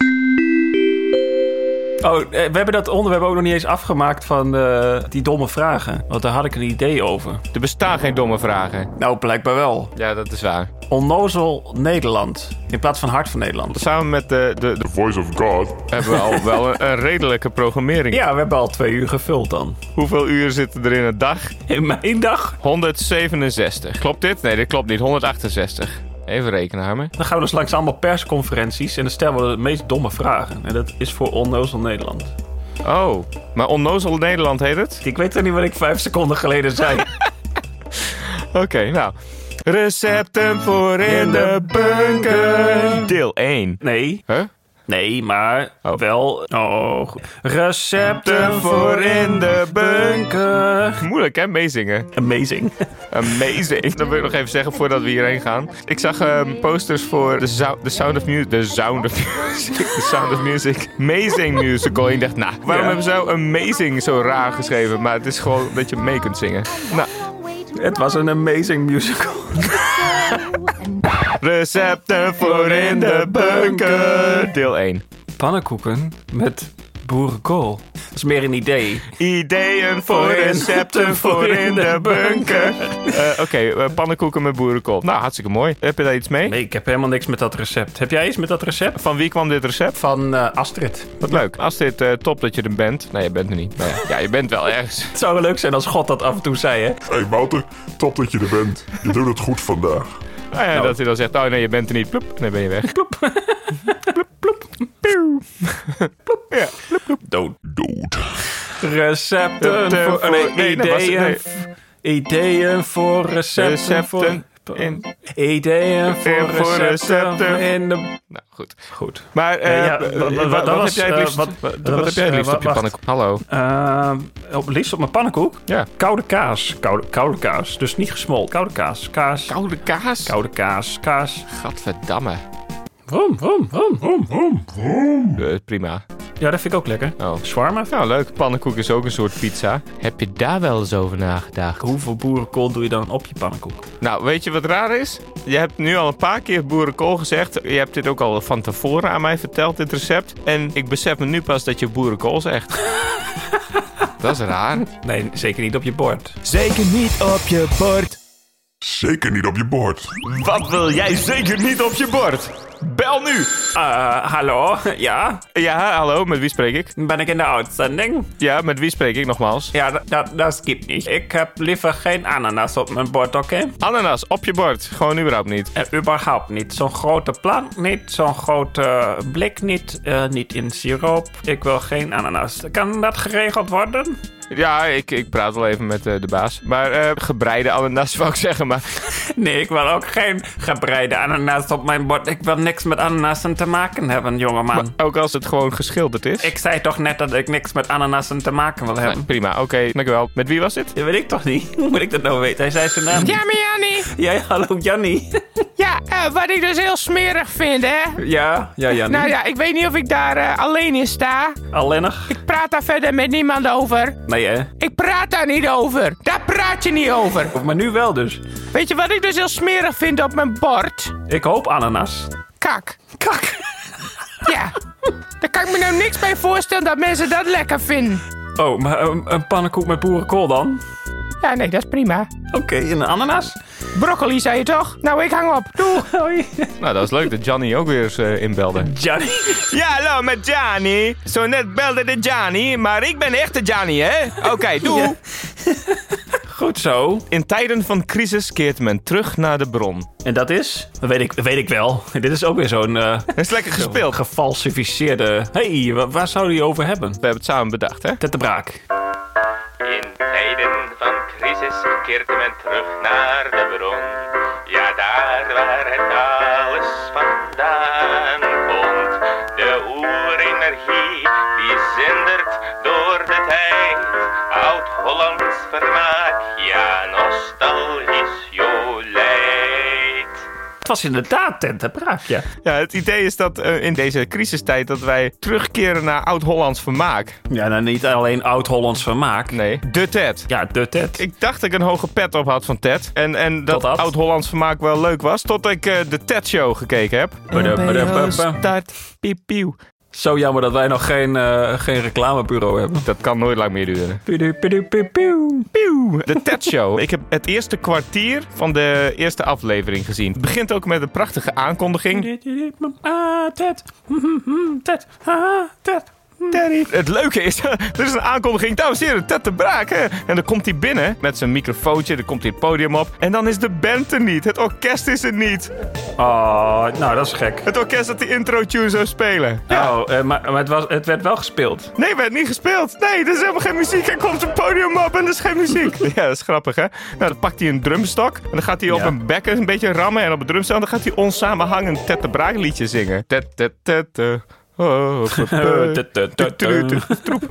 Speaker 3: Oh, eh, we hebben dat onderwerp ook nog niet eens afgemaakt van eh, die domme vragen. Want daar had ik een idee over.
Speaker 1: Er bestaan geen domme vragen.
Speaker 3: Nou, blijkbaar wel.
Speaker 1: Ja, dat is waar.
Speaker 3: Onnozel Nederland. In plaats van Hart van Nederland.
Speaker 1: Samen met de, de, de
Speaker 2: The voice of God.
Speaker 1: hebben we al wel een, een redelijke programmering.
Speaker 3: Ja, we hebben al twee uur gevuld dan.
Speaker 1: Hoeveel uren zitten er in een dag?
Speaker 3: In mijn dag.
Speaker 1: 167. Klopt dit? Nee, dit klopt niet. 168. Even rekenen, Harmen.
Speaker 3: Dan gaan we dus langs allemaal persconferenties. En dan stellen we de meest domme vragen. En dat is voor Onnozel Nederland.
Speaker 1: Oh, maar onnozel Nederland heet het?
Speaker 3: Ik weet toch niet wat ik vijf seconden geleden <laughs> zei.
Speaker 1: Oké, nou. Recepten voor in de bunker. Deel 1.
Speaker 3: Nee.
Speaker 1: Huh?
Speaker 3: Nee, maar wel. Oh, goed. recepten voor in de bunker.
Speaker 1: Moeilijk, hè? Meezingen.
Speaker 3: <laughs> Amazing.
Speaker 1: Amazing. <laughs> Dat wil ik nog even zeggen voordat we hierheen gaan. Ik zag ehm, posters voor de Zou- de Sound of Music. De Sound of Music. <laughs> De Sound of Music. Amazing musical. En ik dacht, nou, waarom hebben ze nou Amazing zo raar geschreven? Maar het is gewoon dat je mee kunt zingen. Nou.
Speaker 3: Het was een amazing musical.
Speaker 1: Recepten voor in de bunker. Deel 1.
Speaker 3: Pannenkoeken met boerenkool. Dat is meer een idee.
Speaker 1: Ideeën voor recepten voor in de bunker. Eh, Oké, eh, pannenkoeken met boerenkool. Nou, hartstikke mooi. Heb je daar iets mee?
Speaker 3: Nee, ik heb helemaal niks met dat recept. Heb jij iets met dat recept?
Speaker 1: Van wie kwam dit recept?
Speaker 3: Van eh, Astrid.
Speaker 1: Wat leuk. Astrid, eh, top dat je er bent. Nee, je bent er niet. Maar ja, ja, je bent wel ergens.
Speaker 3: Het zou leuk zijn als God dat af en toe zei, hè?
Speaker 2: Hé hey Wouter, top dat je er bent. Je doet het goed vandaag.
Speaker 1: <laughs> Nou ja, Dat hij dan zegt, oh nee, je bent er niet. Ploep, dan ben je weg. Ploep.
Speaker 2: Dood. Dood.
Speaker 3: Recepten
Speaker 1: Eh,
Speaker 3: voor...
Speaker 1: voor-
Speaker 3: nee,
Speaker 1: nee, dat was-
Speaker 3: ideeën,
Speaker 1: nee.
Speaker 3: v- ideeën voor recepten,
Speaker 1: Recepten
Speaker 3: voor...
Speaker 1: in-
Speaker 3: ideeën voor
Speaker 1: Ideeën
Speaker 3: recepten,
Speaker 1: voor recepten.
Speaker 3: in de...
Speaker 1: Nou, goed.
Speaker 3: Goed.
Speaker 1: Maar eh,
Speaker 3: Eh, ja,
Speaker 1: eh,
Speaker 3: wa- wa- wa-
Speaker 1: wat,
Speaker 3: dat
Speaker 1: wat heb
Speaker 3: was,
Speaker 1: jij het
Speaker 3: eh,
Speaker 1: liefst,
Speaker 3: wat-
Speaker 1: wat,
Speaker 3: wa- dat
Speaker 1: wat
Speaker 3: was,
Speaker 1: heb jij het
Speaker 3: eh,
Speaker 1: liefst
Speaker 3: wa-
Speaker 1: op je
Speaker 3: wacht.
Speaker 1: pannenkoek? Hallo.
Speaker 3: Eh, op, liefst op mijn pannenkoek.
Speaker 1: Ja.
Speaker 3: Koude kaas. Koude, koude kaas. Dus niet gesmolten. Koude kaas. Kaas.
Speaker 1: Koude kaas?
Speaker 3: Koude kaas. Kaas.
Speaker 1: Gadverdamme.
Speaker 3: Vroom, vroom, vroom, vroom, vroom, vroom.
Speaker 1: Eh, prima.
Speaker 3: Ja, dat vind ik ook lekker.
Speaker 1: Oh.
Speaker 3: Zwarma.
Speaker 1: Nou, leuk. Pannenkoek is ook een soort pizza. Heb je daar wel eens over nagedacht?
Speaker 3: Hoeveel boerenkool doe je dan op je pannenkoek?
Speaker 1: Nou, weet je wat raar is? Je hebt nu al een paar keer boerenkool gezegd. Je hebt dit ook al van tevoren aan mij verteld, dit recept. En ik besef me nu pas dat je boerenkool <laughs> zegt. dat is raar.
Speaker 3: Nee, zeker niet op je bord.
Speaker 12: Zeker niet op je bord.
Speaker 2: Zeker niet op je bord.
Speaker 1: Wat wil jij zeker niet op je bord? Bel nu!
Speaker 3: Eh, hallo? Ja?
Speaker 1: Ja, hallo, met wie spreek ik?
Speaker 3: Ben ik in de uitzending?
Speaker 1: Ja, met wie spreek ik nogmaals?
Speaker 3: Ja, dat, dat, dat skipt niet. Ik heb liever geen ananas op mijn bord, oké?
Speaker 1: Ananas, op je bord. Gewoon überhaupt niet.
Speaker 3: Eh, überhaupt niet. Zo'n grote plank niet, zo'n grote blik niet, eh, niet in siroop. Ik wil geen ananas. Kan dat geregeld worden? <laughs>
Speaker 1: Ja, ik, ik praat wel even met eh, de baas. Maar eh, gebreide ananas <laughs> wou ik zeggen, maar...
Speaker 3: Nee, ik wil ook geen gebreide ananas op mijn bord. Ik wil niks met ananassen te maken hebben, jongeman.
Speaker 1: Ook als het gewoon geschilderd is.
Speaker 3: Ik zei toch net dat ik niks met ananassen te maken wil hebben?
Speaker 1: Nee, prima, oké, dankjewel. Met wie was dit?
Speaker 3: Dat weet ik toch niet? <laughs> Hoe moet ik dat nou weten? Hij zei zijn naam.
Speaker 4: Ja, maar Jannie.
Speaker 3: Ja, ja, hallo Jannie. <laughs>
Speaker 4: Ja, eh, wat ik dus heel smerig vind, hè.
Speaker 3: Ja, ja, Jannie.
Speaker 4: Nou ja, ik weet niet of ik daar eh, alleen in sta.
Speaker 3: Alleen nog?
Speaker 4: Nou, Ik praat daar verder met niemand over.
Speaker 3: Nee, hè?
Speaker 4: Ik praat daar niet over. Daar praat je niet over.
Speaker 3: Maar nu wel dus.
Speaker 4: Weet je wat ik dus heel smerig vind op mijn bord?
Speaker 3: Ik hoop ananas.
Speaker 4: Kak.
Speaker 3: Kak.
Speaker 4: <laughs> Ja. Daar kan ik me nou niks bij voorstellen dat mensen dat lekker vinden.
Speaker 3: Oh, maar een, een pannenkoek met boerenkool dan?
Speaker 4: Ja, nee, dat is prima.
Speaker 3: Oké, en een ananas?
Speaker 4: Broccoli, zei je toch? Nou, ik hang op. Doei.
Speaker 3: Hoi.
Speaker 1: Nou, dat is leuk dat Johnny ook weer eens eh, inbelde.
Speaker 3: Jannie.
Speaker 1: Ja, hallo, met Johnny. Zo net belde de Johnny, maar ik ben echt de Johnny, hè? Oké, doe.
Speaker 3: <laughs> Goed zo.
Speaker 1: In tijden van crisis keert men terug naar de bron.
Speaker 3: En dat is? Dat weet ik, dat weet ik wel. Dit is ook weer zo'n eh,
Speaker 1: Dat is lekker gespeeld. We
Speaker 3: gefalsificeerde... Hé, hey, wa- waar zouden die over hebben?
Speaker 1: hebben het samen bedacht, hè?
Speaker 3: Ted de Braak.
Speaker 4: In tijden van crisis keert men terug naar de bron. Ja, daar waar het alles vandaan komt. De oerenergie die zindert door de tijd. Oud-Hollands vermaak, ja, nostalgisch jolijt.
Speaker 3: Het was inderdaad Ted de Braak, ja.
Speaker 1: Ja, het idee is dat eh, in deze crisistijd dat wij terugkeren naar oud-Hollands vermaak.
Speaker 3: Ja, nou niet alleen oud-Hollands vermaak.
Speaker 1: Nee, de Ted.
Speaker 3: Ja, de Ted.
Speaker 1: Ik dacht dat ik een hoge pet op had van Ted. En, en dat
Speaker 3: Totdat?
Speaker 1: oud-Hollands vermaak wel leuk was. Tot ik eh, de Ted-show gekeken heb.
Speaker 4: Start, piep, piep.
Speaker 3: Zo jammer dat wij nog geen, eh, geen reclamebureau hebben.
Speaker 1: Dat kan nooit lang meer duren.
Speaker 3: Pidu, pidu, piu, piu.
Speaker 1: Pieuw. De Ted Show. Ik heb het eerste kwartier van de eerste aflevering gezien. Het begint ook met een prachtige aankondiging.
Speaker 3: Ah, Ted. Mhm, mhm, Ted. Ah, Ted.
Speaker 1: Het leuke is, <laughs> er is een aankondiging. Dames en heren, Ted de Braak. hè? En dan komt hij binnen met zijn microfoontje. Dan komt hij het podium op. En dan is de band er niet. Het orkest is er niet.
Speaker 3: Oh, nou dat is gek.
Speaker 1: Het orkest dat die intro tune zou spelen.
Speaker 3: Oh, eh, maar, maar het, was, het werd wel gespeeld.
Speaker 1: Nee, werd niet gespeeld. Nee, er is helemaal geen muziek. Hij komt het podium op en er is geen muziek. <laughs> ja, dat is grappig, hè? Nou, dan pakt hij een drumstok. En dan gaat hij op
Speaker 3: Ja.
Speaker 1: een bekken een beetje rammen en op een drumstel. En dan gaat hij onsamenhangend Ted de Braak liedje zingen. Ted, ted, ted, eh, <laughs> Oh, Troep.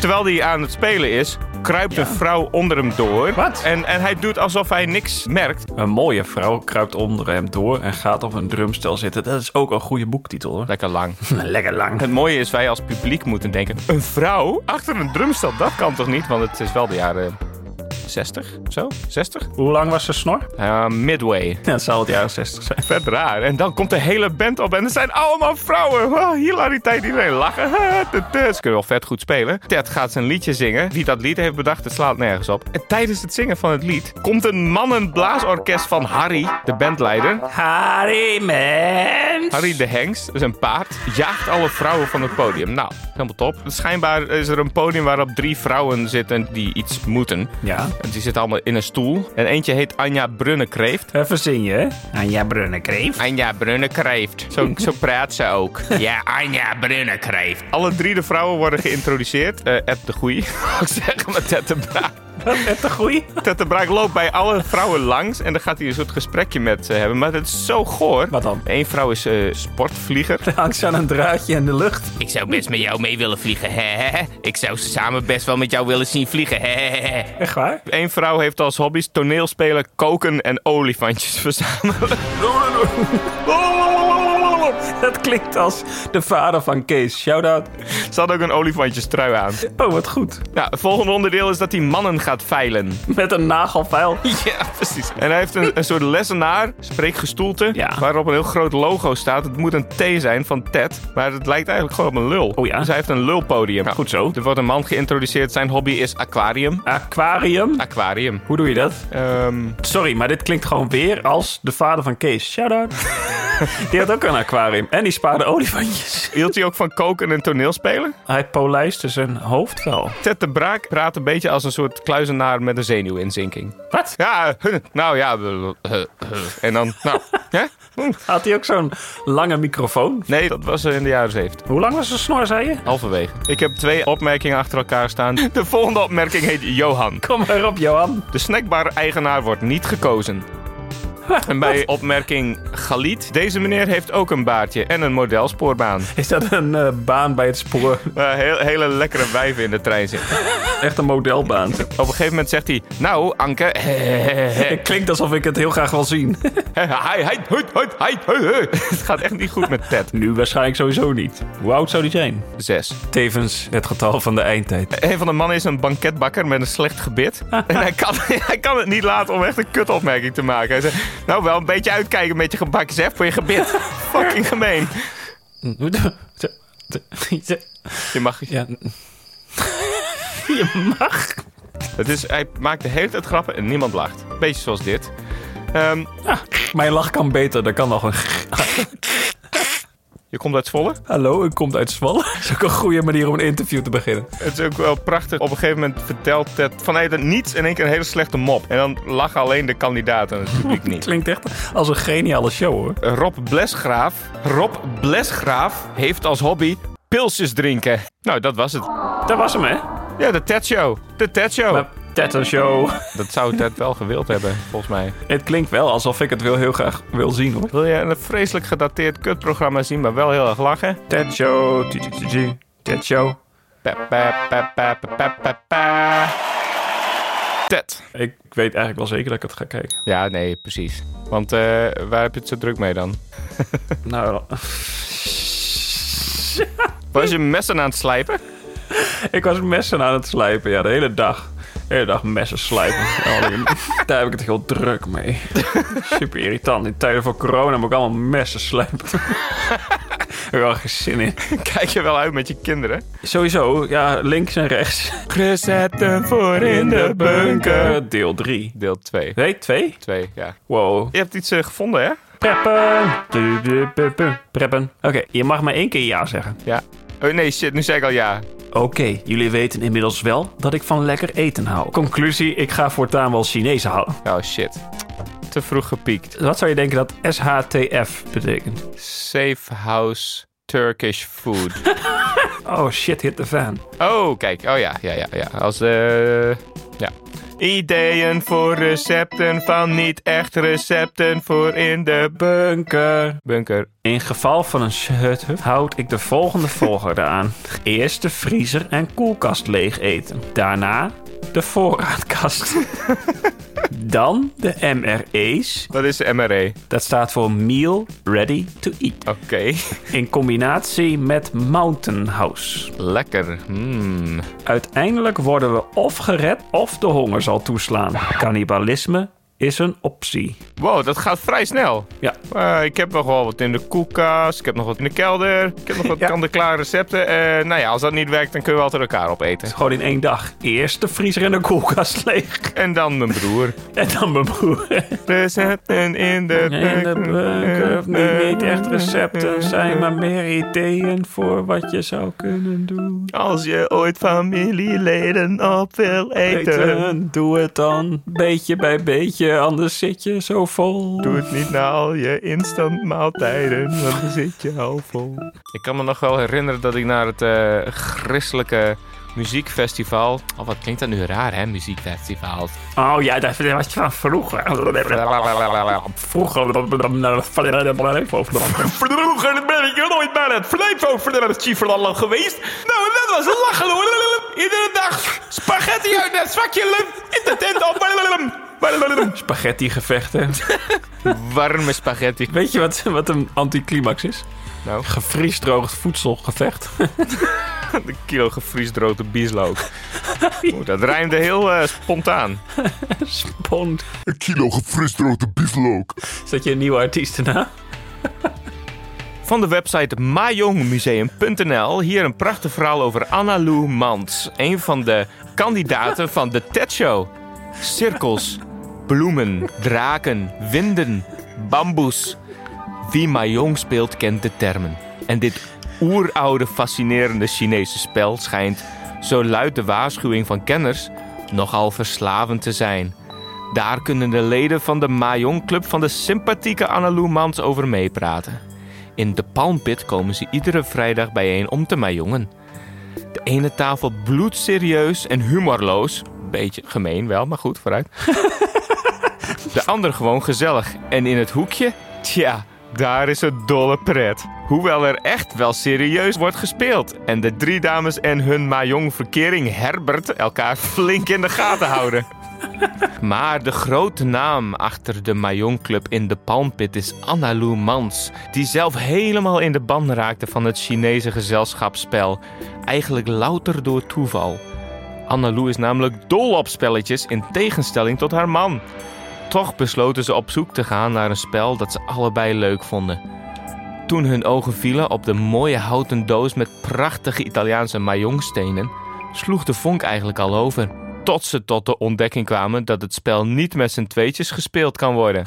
Speaker 1: Terwijl hij aan het spelen is, kruipt een vrouw onder hem door. Wat? En, en hij doet alsof hij niks merkt.
Speaker 3: Een mooie vrouw kruipt onder hem door en gaat op een drumstel zitten. Dat is ook een goede boektitel hoor.
Speaker 1: Lekker lang.
Speaker 3: <laughs> Lekker lang.
Speaker 1: Het mooie is, wij als publiek moeten denken... Een vrouw achter een drumstel, dat kan toch niet? Want het is wel de jaren 60 of zo? 60?
Speaker 3: Hoe lang was zijn snor? <laughs>
Speaker 1: Eh, midway.
Speaker 3: Dat zal het jaren 60 zijn.
Speaker 1: <laughs> Vet raar. En dan komt de hele band op en het zijn allemaal vrouwen. Wow, hilariteit, iedereen lachen. Ze kunnen wel vet goed spelen. Ted gaat zijn liedje zingen. Wie dat lied heeft bedacht, het slaat nergens op. En tijdens het zingen van het lied komt een mannenblaasorkest van Harry, de bandleider.
Speaker 3: Harry Mens.
Speaker 1: Harry de Hengst, dus een paard, jaagt alle vrouwen van het podium. Nou, helemaal top. Schijnbaar is er een podium waarop drie vrouwen zitten die iets moeten.
Speaker 3: Ja.
Speaker 1: En Die zitten allemaal in een stoel. En eentje heet Anja Brunnekreeft.
Speaker 3: Even zin je, hè? Anja Brunnekreeft.
Speaker 1: Anja Brunnekreeft.
Speaker 3: <laughs>
Speaker 1: Zo, zo praat ze ook. Ja, Anja Brunnekreeft. Alle drie de vrouwen worden geïntroduceerd. Eh Ed de Goeie. <laughs> Ik zeg maar Ted de Braak.
Speaker 3: Ed de Goeie?
Speaker 1: Ted de Braak loopt bij alle vrouwen langs. En dan gaat hij een soort gesprekje met ze hebben. Maar dat is zo goor.
Speaker 3: Wat dan?
Speaker 1: Eén vrouw is eh, sportvlieger.
Speaker 3: <laughs> Hangt ze aan een draadje in de lucht.
Speaker 1: Ik zou best met jou mee willen vliegen. Ik zou samen best wel met jou willen zien vliegen.
Speaker 3: Echt waar?
Speaker 1: Eén vrouw heeft als hobby's toneelspelen, koken en olifantjes <laughs> verzamelen.
Speaker 3: Dat klinkt als de vader van Kees. Shout-out.
Speaker 1: Ze had ook een olifantjestrui aan.
Speaker 3: Oh, wat goed.
Speaker 1: Nou, het volgende onderdeel is dat hij mannen gaat
Speaker 3: <laughs>
Speaker 1: veilen.
Speaker 3: Met een nagelfeil.
Speaker 1: Ja, precies. En hij heeft een, een soort lessenaar, spreekgestoelte,
Speaker 3: Ja.
Speaker 1: waarop een heel groot logo staat. Het moet een T zijn van Ted, maar het lijkt eigenlijk gewoon op een lul.
Speaker 3: Oh ja. Nou,
Speaker 1: Dus hij heeft een lulpodium.
Speaker 3: Goed zo.
Speaker 1: Er wordt een man geïntroduceerd, zijn hobby is aquarium.
Speaker 3: Aquarium.
Speaker 1: Aquarium.
Speaker 3: Hoe doe je dat?
Speaker 1: Ehm,
Speaker 3: Sorry, maar dit klinkt gewoon weer als de vader van Kees. <laughs> Shout-out. die had ook een aquarium. En die spaarde olifantjes.
Speaker 1: hield hij ook van koken en toneelspelen?
Speaker 3: Hij polijste zijn hoofd wel.
Speaker 1: Ted de Braak praat een beetje als een soort kluizenaar met een zenuwinzinking.
Speaker 3: Wat?
Speaker 1: Ja, eh, nou ja. eh, eh, En dan, nou, hè?
Speaker 3: Had hij ook zo'n lange microfoon?
Speaker 1: Nee, dat was eh, in de jaren zeventig.
Speaker 3: Hoe lang was zijn snor, zei je?
Speaker 1: Halverwege. Ik heb twee opmerkingen achter elkaar staan. <laughs> De volgende opmerking heet Johan.
Speaker 3: Kom maar op, Johan.
Speaker 1: De snackbar-eigenaar wordt niet
Speaker 3: <laughs>
Speaker 1: gekozen. En bij opmerking Galiet. Deze meneer heeft ook een baardje en een modelspoorbaan.
Speaker 3: Is dat een eh, baan bij het spoor?
Speaker 1: Waar heel, hele lekkere wijven in de trein zitten.
Speaker 3: Echt een modelbaan.
Speaker 1: Op een gegeven moment zegt hij... Nou, Anke... <laughs> hè, hè, hè,
Speaker 3: Het klinkt alsof ik het heel graag wil zien.
Speaker 1: hè, hai, hai, hui, hui, hai, hui, hui. <laughs> Het gaat echt niet goed met Ted.
Speaker 3: nu waarschijnlijk sowieso niet. Hoe oud zou die zijn?
Speaker 1: Zes.
Speaker 3: Tevens het getal van de eindtijd.
Speaker 1: Een van de mannen is een banketbakker met een slecht <laughs> gebit. En hij kan, hij kan het niet laten om echt een kutopmerking te maken. Hij zegt, nou wel een beetje uitkijken met je gebakjes, hè, voor je <laughs> gebit. Fucking gemeen. Je mag...
Speaker 3: Ja. Je mag.
Speaker 1: Het is, hij maakt de hele tijd grappen en niemand lacht. Beetje zoals dit. Ehm,
Speaker 3: Mijn lach kan beter, dat kan nog een.
Speaker 1: je komt uit Zwolle.
Speaker 3: Hallo, ik kom uit Zwolle. Dat is ook een goede manier om een interview te beginnen.
Speaker 1: Het is ook wel prachtig. Op een gegeven moment vertelt Ted vanuit het niets in één keer een hele slechte mop. En dan lachen alleen de kandidaten en het publiek niet.
Speaker 3: Klinkt echt als een geniale show hoor.
Speaker 1: Rob Blesgraaf. Rob Blesgraaf heeft als hobby pilsjes drinken. Nou, dat was het.
Speaker 3: Dat was hem, hè?
Speaker 1: Ja, de Ted Show. De Ted Show.
Speaker 3: Tetto Show.
Speaker 1: Dat zou Ted wel gewild hebben, volgens mij.
Speaker 3: Het klinkt wel alsof ik het wel heel graag wil zien hoor.
Speaker 1: Wil je een vreselijk gedateerd kutprogramma zien, maar wel heel erg lachen?
Speaker 3: Ted Show. TTTG. Ted Show.
Speaker 1: Pa, pa, pa, pa, pa, pa, pa, pa. Ted.
Speaker 3: Ik weet eigenlijk wel zeker dat ik het ga kijken.
Speaker 1: Ja, nee, precies. Want eh, waar heb je het zo druk mee dan?
Speaker 3: Nou, <laughs>
Speaker 1: Was je messen aan het slijpen? <laughs>
Speaker 3: ik was messen aan het slijpen. Ja, de hele dag. De hele dag messen slijpen. <laughs> Oh, die- Daar heb ik het heel druk mee. <laughs> Super irritant. In tijden van corona moet ik allemaal messen slijpen. <laughs> Ik heb er wel geen zin in.
Speaker 1: Kijk je wel uit met je kinderen?
Speaker 3: Sowieso, ja, links en rechts.
Speaker 1: Resetten voor in de bunker.
Speaker 3: Deel 3.
Speaker 1: Deel 2.
Speaker 3: Nee, 2?
Speaker 1: 2, ja.
Speaker 3: Wow.
Speaker 1: Je hebt iets eh, gevonden, hè?
Speaker 3: Preppen. Du- du- pu- pu. Preppen. Oké, je mag maar één keer ja zeggen.
Speaker 1: Ja. Oh nee, shit, nu zei ik al ja.
Speaker 3: Oké, jullie weten inmiddels wel dat ik van lekker eten hou. Conclusie, ik ga voortaan wel Chinees halen.
Speaker 1: Oh shit. Te vroeg gepiekt.
Speaker 3: Wat zou je denken dat SHTF betekent?
Speaker 1: Safe house Turkish food.
Speaker 3: Oh shit, hit the fan.
Speaker 1: Oh, kijk. Oh ja, ja, ja, ja. Als, eh. ja. Ideeën voor recepten van niet echt recepten voor in de bunker. Bunker.
Speaker 3: In geval van een shut houd ik de <laughs> volgende volgorde aan. Eerst de vriezer en koelkast leeg eten. Daarna de <laughs> voorraadkast. Dan de MRE's.
Speaker 1: Wat is E. de MRE?
Speaker 3: Dat staat voor Meal Ready to Eat. Oké. In combinatie met Mountain House.
Speaker 1: <laughs> Lekker. Hmm.
Speaker 3: Uiteindelijk worden we of gered of de honger zal toeslaan. Cannibalisme is een optie.
Speaker 1: Wow, dat gaat vrij snel.
Speaker 3: Ja.
Speaker 1: Eh, ik heb nog wel wat in de koelkast. Ik heb nog wat in de kelder. Ik heb nog
Speaker 3: <laughs>
Speaker 1: wat kant-en-klaar recepten. Eh, nou ja, als dat niet werkt, dan kunnen we altijd elkaar opeten.
Speaker 3: Gewoon in één dag. Eerst de vriezer en de koelkast leeg.
Speaker 1: En dan mijn broer.
Speaker 3: en dan mijn broer.
Speaker 1: Recepten in de
Speaker 3: In de bunker. Niet, niet echt recepten zijn, maar meer ideeën voor wat je zou kunnen doen.
Speaker 1: Als je ooit familieleden op wil
Speaker 3: Eten, doe het dan. Beetje bij beetje, anders zit je zo vol.
Speaker 1: Doe het niet na al je instant maaltijden, want dan zit je al vol. Ik kan me nog wel herinneren dat ik naar het eh, christelijke muziekfestival... Oh, wat klinkt dat nu raar, hè, muziekfestival.
Speaker 3: Oh ja, dat was van vroeger. Vroeger.
Speaker 13: Vroeger ben ik er nooit bij het Flevo geweest. Nou, dat was lachen hoor. Iedere dag spaghetti uit het zwakje in de tent op.
Speaker 3: Spaghetti gevechten.
Speaker 1: Warme spaghetti.
Speaker 3: Weet je wat, wat een anticlimax is?
Speaker 1: Nou.
Speaker 3: Gevriesdroogd voedselgevecht. <laughs>
Speaker 1: Een kilo gevriesdroogde bieslook. Oeh, dat rijmde heel eh, spontaan.
Speaker 3: Spond.
Speaker 2: Een kilo gefrisdroogde bieflook.
Speaker 3: Is dat je een nieuwe artiestennaam?
Speaker 1: Van de website majongmuseum.nl hier een prachtig verhaal over Anna Lou Mans. Een van de kandidaten van de TED Show. Cirkels, bloemen, draken, winden, bamboes. Wie Mahjong speelt kent de termen. En dit oeroude fascinerende Chinese spel schijnt, zo luidt de waarschuwing van kenners, nogal verslavend te zijn. Daar kunnen de leden van de Mahjong Club van de sympathieke Annalou Mans over meepraten. In de Palmpit komen ze iedere vrijdag bijeen om te mahjongen. De ene tafel bloedserieus en humorloos. Beetje gemeen wel, maar goed, vooruit. <laughs> De ander gewoon gezellig. En in het hoekje? Tja, daar is het dolle pret. Hoewel er echt wel serieus wordt gespeeld. En de drie dames en hun Mahjong-verkering Herbert elkaar flink in de gaten houden. Maar de grote naam achter de Mahjong Club in de Palmpit is Anna Lou Mans, die zelf helemaal in de ban raakte van het Chinese gezelschapsspel. Eigenlijk louter door toeval. Anna Lou is namelijk dol op spelletjes in tegenstelling tot haar man. Toch besloten ze op zoek te gaan naar een spel dat ze allebei leuk vonden. Toen hun ogen vielen op de mooie houten doos met prachtige Italiaanse mahjongstenen, sloeg de vonk eigenlijk al over. Tot ze tot de ontdekking kwamen dat het spel niet met z'n tweetjes gespeeld kan worden.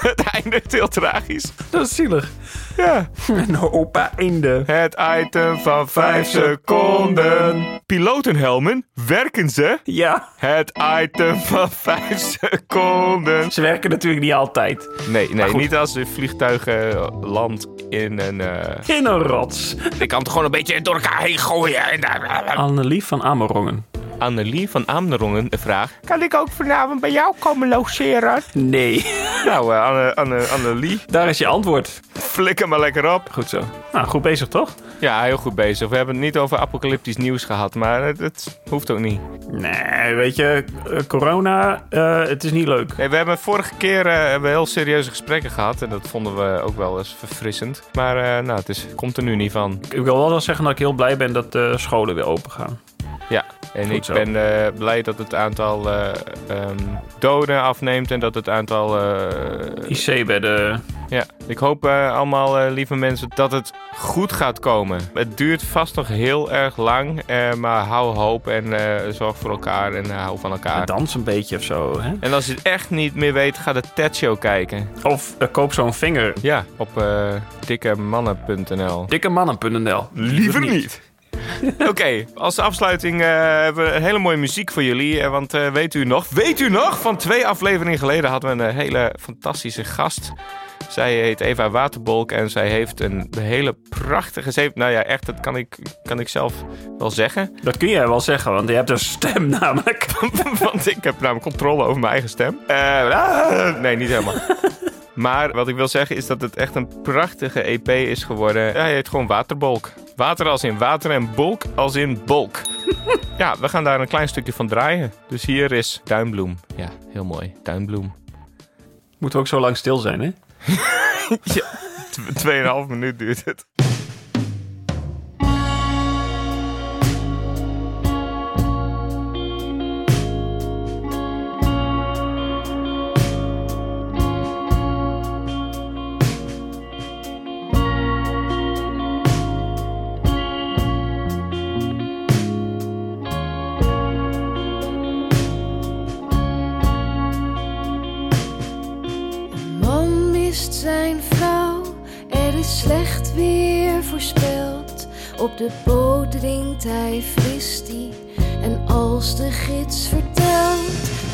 Speaker 1: Het eindigt heel tragisch.
Speaker 3: Dat is zielig.
Speaker 1: Ja.
Speaker 3: En opa einde.
Speaker 1: Het item van 5 seconden. Pilotenhelmen, werken ze?
Speaker 3: Ja.
Speaker 1: Het item van 5 seconden.
Speaker 3: Ze werken natuurlijk niet altijd.
Speaker 1: Nee, nee
Speaker 3: goed.
Speaker 1: niet als een vliegtuig eh, landt in een... eh,
Speaker 3: In een rots.
Speaker 1: Ik kan het gewoon een beetje door elkaar heen gooien. En daar...
Speaker 3: Annelie van Amerongen.
Speaker 1: Annelie van Amnerongen vraagt...
Speaker 13: Kan ik ook vanavond bij jou komen logeren?
Speaker 3: Nee. <laughs>
Speaker 1: Nou, eh, Anne, Anne, Annelie,
Speaker 3: Daar is je antwoord.
Speaker 1: flikker maar lekker op.
Speaker 3: Goed zo. Nou, goed bezig toch?
Speaker 1: Ja, heel goed bezig. We hebben het niet over apocalyptisch nieuws gehad, maar het, het hoeft ook niet.
Speaker 3: Nee, weet je, eh, corona, eh, het is niet leuk.
Speaker 1: Nee, we hebben vorige keer eh, hebben we heel serieuze gesprekken gehad en dat vonden we ook wel eens verfrissend. Maar eh, nou, het is, komt er nu niet van.
Speaker 3: Ik wil wel wel zeggen dat ik heel blij ben dat de scholen weer open gaan.
Speaker 1: Ja, en
Speaker 3: Goed
Speaker 1: ik
Speaker 3: zo.
Speaker 1: ben eh, blij dat het aantal eh, ehm, doden afneemt en dat het aantal... eh,
Speaker 3: IC bij de...
Speaker 1: ja, ik hoop eh, allemaal, eh, lieve mensen, dat het goed gaat komen. Het duurt vast nog heel erg lang, eh, maar hou hoop en eh, zorg voor elkaar en eh, hou van elkaar.
Speaker 3: Dans een beetje of zo, hè?
Speaker 1: En als je het echt niet meer weet, ga de TED Show kijken.
Speaker 3: Of eh, koop zo'n vinger.
Speaker 1: Ja, op eh, dikkemannen.nl.
Speaker 3: Dikkemannen.nl.
Speaker 1: Liever niet. <laughs> Oké, als afsluiting eh, hebben we een hele mooie muziek voor jullie. eh, Want eh, weet u nog, weet u nog, van twee afleveringen geleden hadden we een hele fantastische gast. Zij heet Eva Waterbolk en zij heeft een hele prachtige... Ze heeft, nou ja, echt, dat kan ik, kan ik zelf wel zeggen.
Speaker 3: Dat kun jij wel zeggen, want je hebt een stem namelijk. <laughs>
Speaker 1: <laughs> want ik heb namelijk controle over mijn eigen stem. Eh, ah, nee, niet <laughs> helemaal. Maar wat ik wil zeggen is dat het echt een prachtige EP is geworden. Hij heet gewoon Waterbolk. Water als in water en bolk als in <laughs> bolk. ja, we gaan daar een klein stukje van draaien. Dus hier is Duimbloem. Ja, heel mooi. Duimbloem.
Speaker 3: Moeten we ook zo lang stil zijn, hè?
Speaker 1: ja, tw- tweeënhalf minuut duurt het.
Speaker 8: Man mist zijn vrouw, er is slecht weer voorspeld. Op de boot drinkt hij fristie. En als de gids vertelt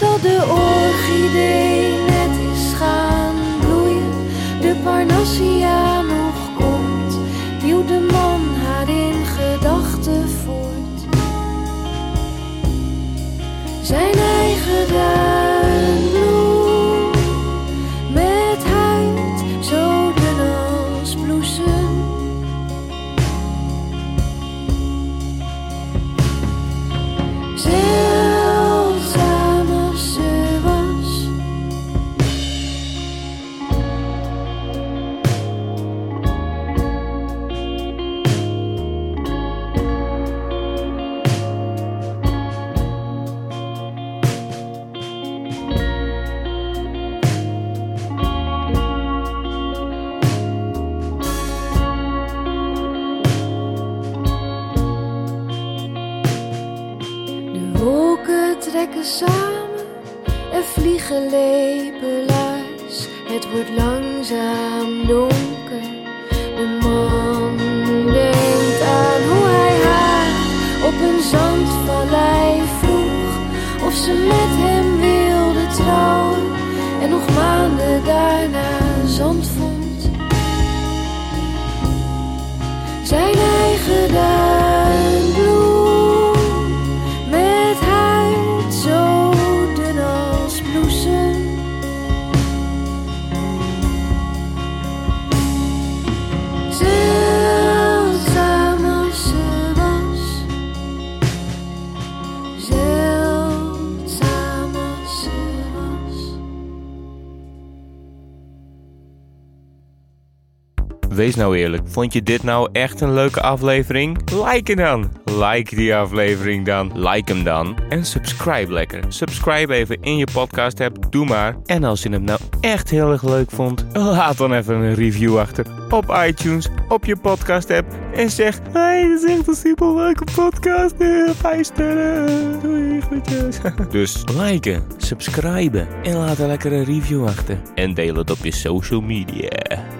Speaker 8: dat de orchidee net is gaan bloeien, de parnassia nog komt, duwt de man haar in gedachten voort. Zijn eigen duimbloem met huid zo dun als bloesem. Zeldzaam als ze was. Wolken trekken samen en vliegen lepelaars. Het wordt langzaam donker. De man denkt aan hoe hij haar op een zandvallei vroeg. Of ze met hem wilde trouwen en nog maanden daarna zand vond. Zijn eigen duimbloem met huid zo dun als bloesem. Zeldzaam als ze was. Zeldzaam als ze was.
Speaker 1: Wees nou eerlijk, vond je dit nou echt een leuke aflevering? Like hem dan! Like die aflevering dan, like hem dan. En subscribe lekker. Subscribe even in je podcast app, doe maar. En als je hem nou echt heel erg leuk vond, laat dan even een review achter op iTunes, op je podcast app. En zeg, hey, dit is echt een super leuke podcast. Eh, Vijf sterren, doei, groetjes. Dus liken, subscriben en laat een lekkere review achter. En deel het op je social media.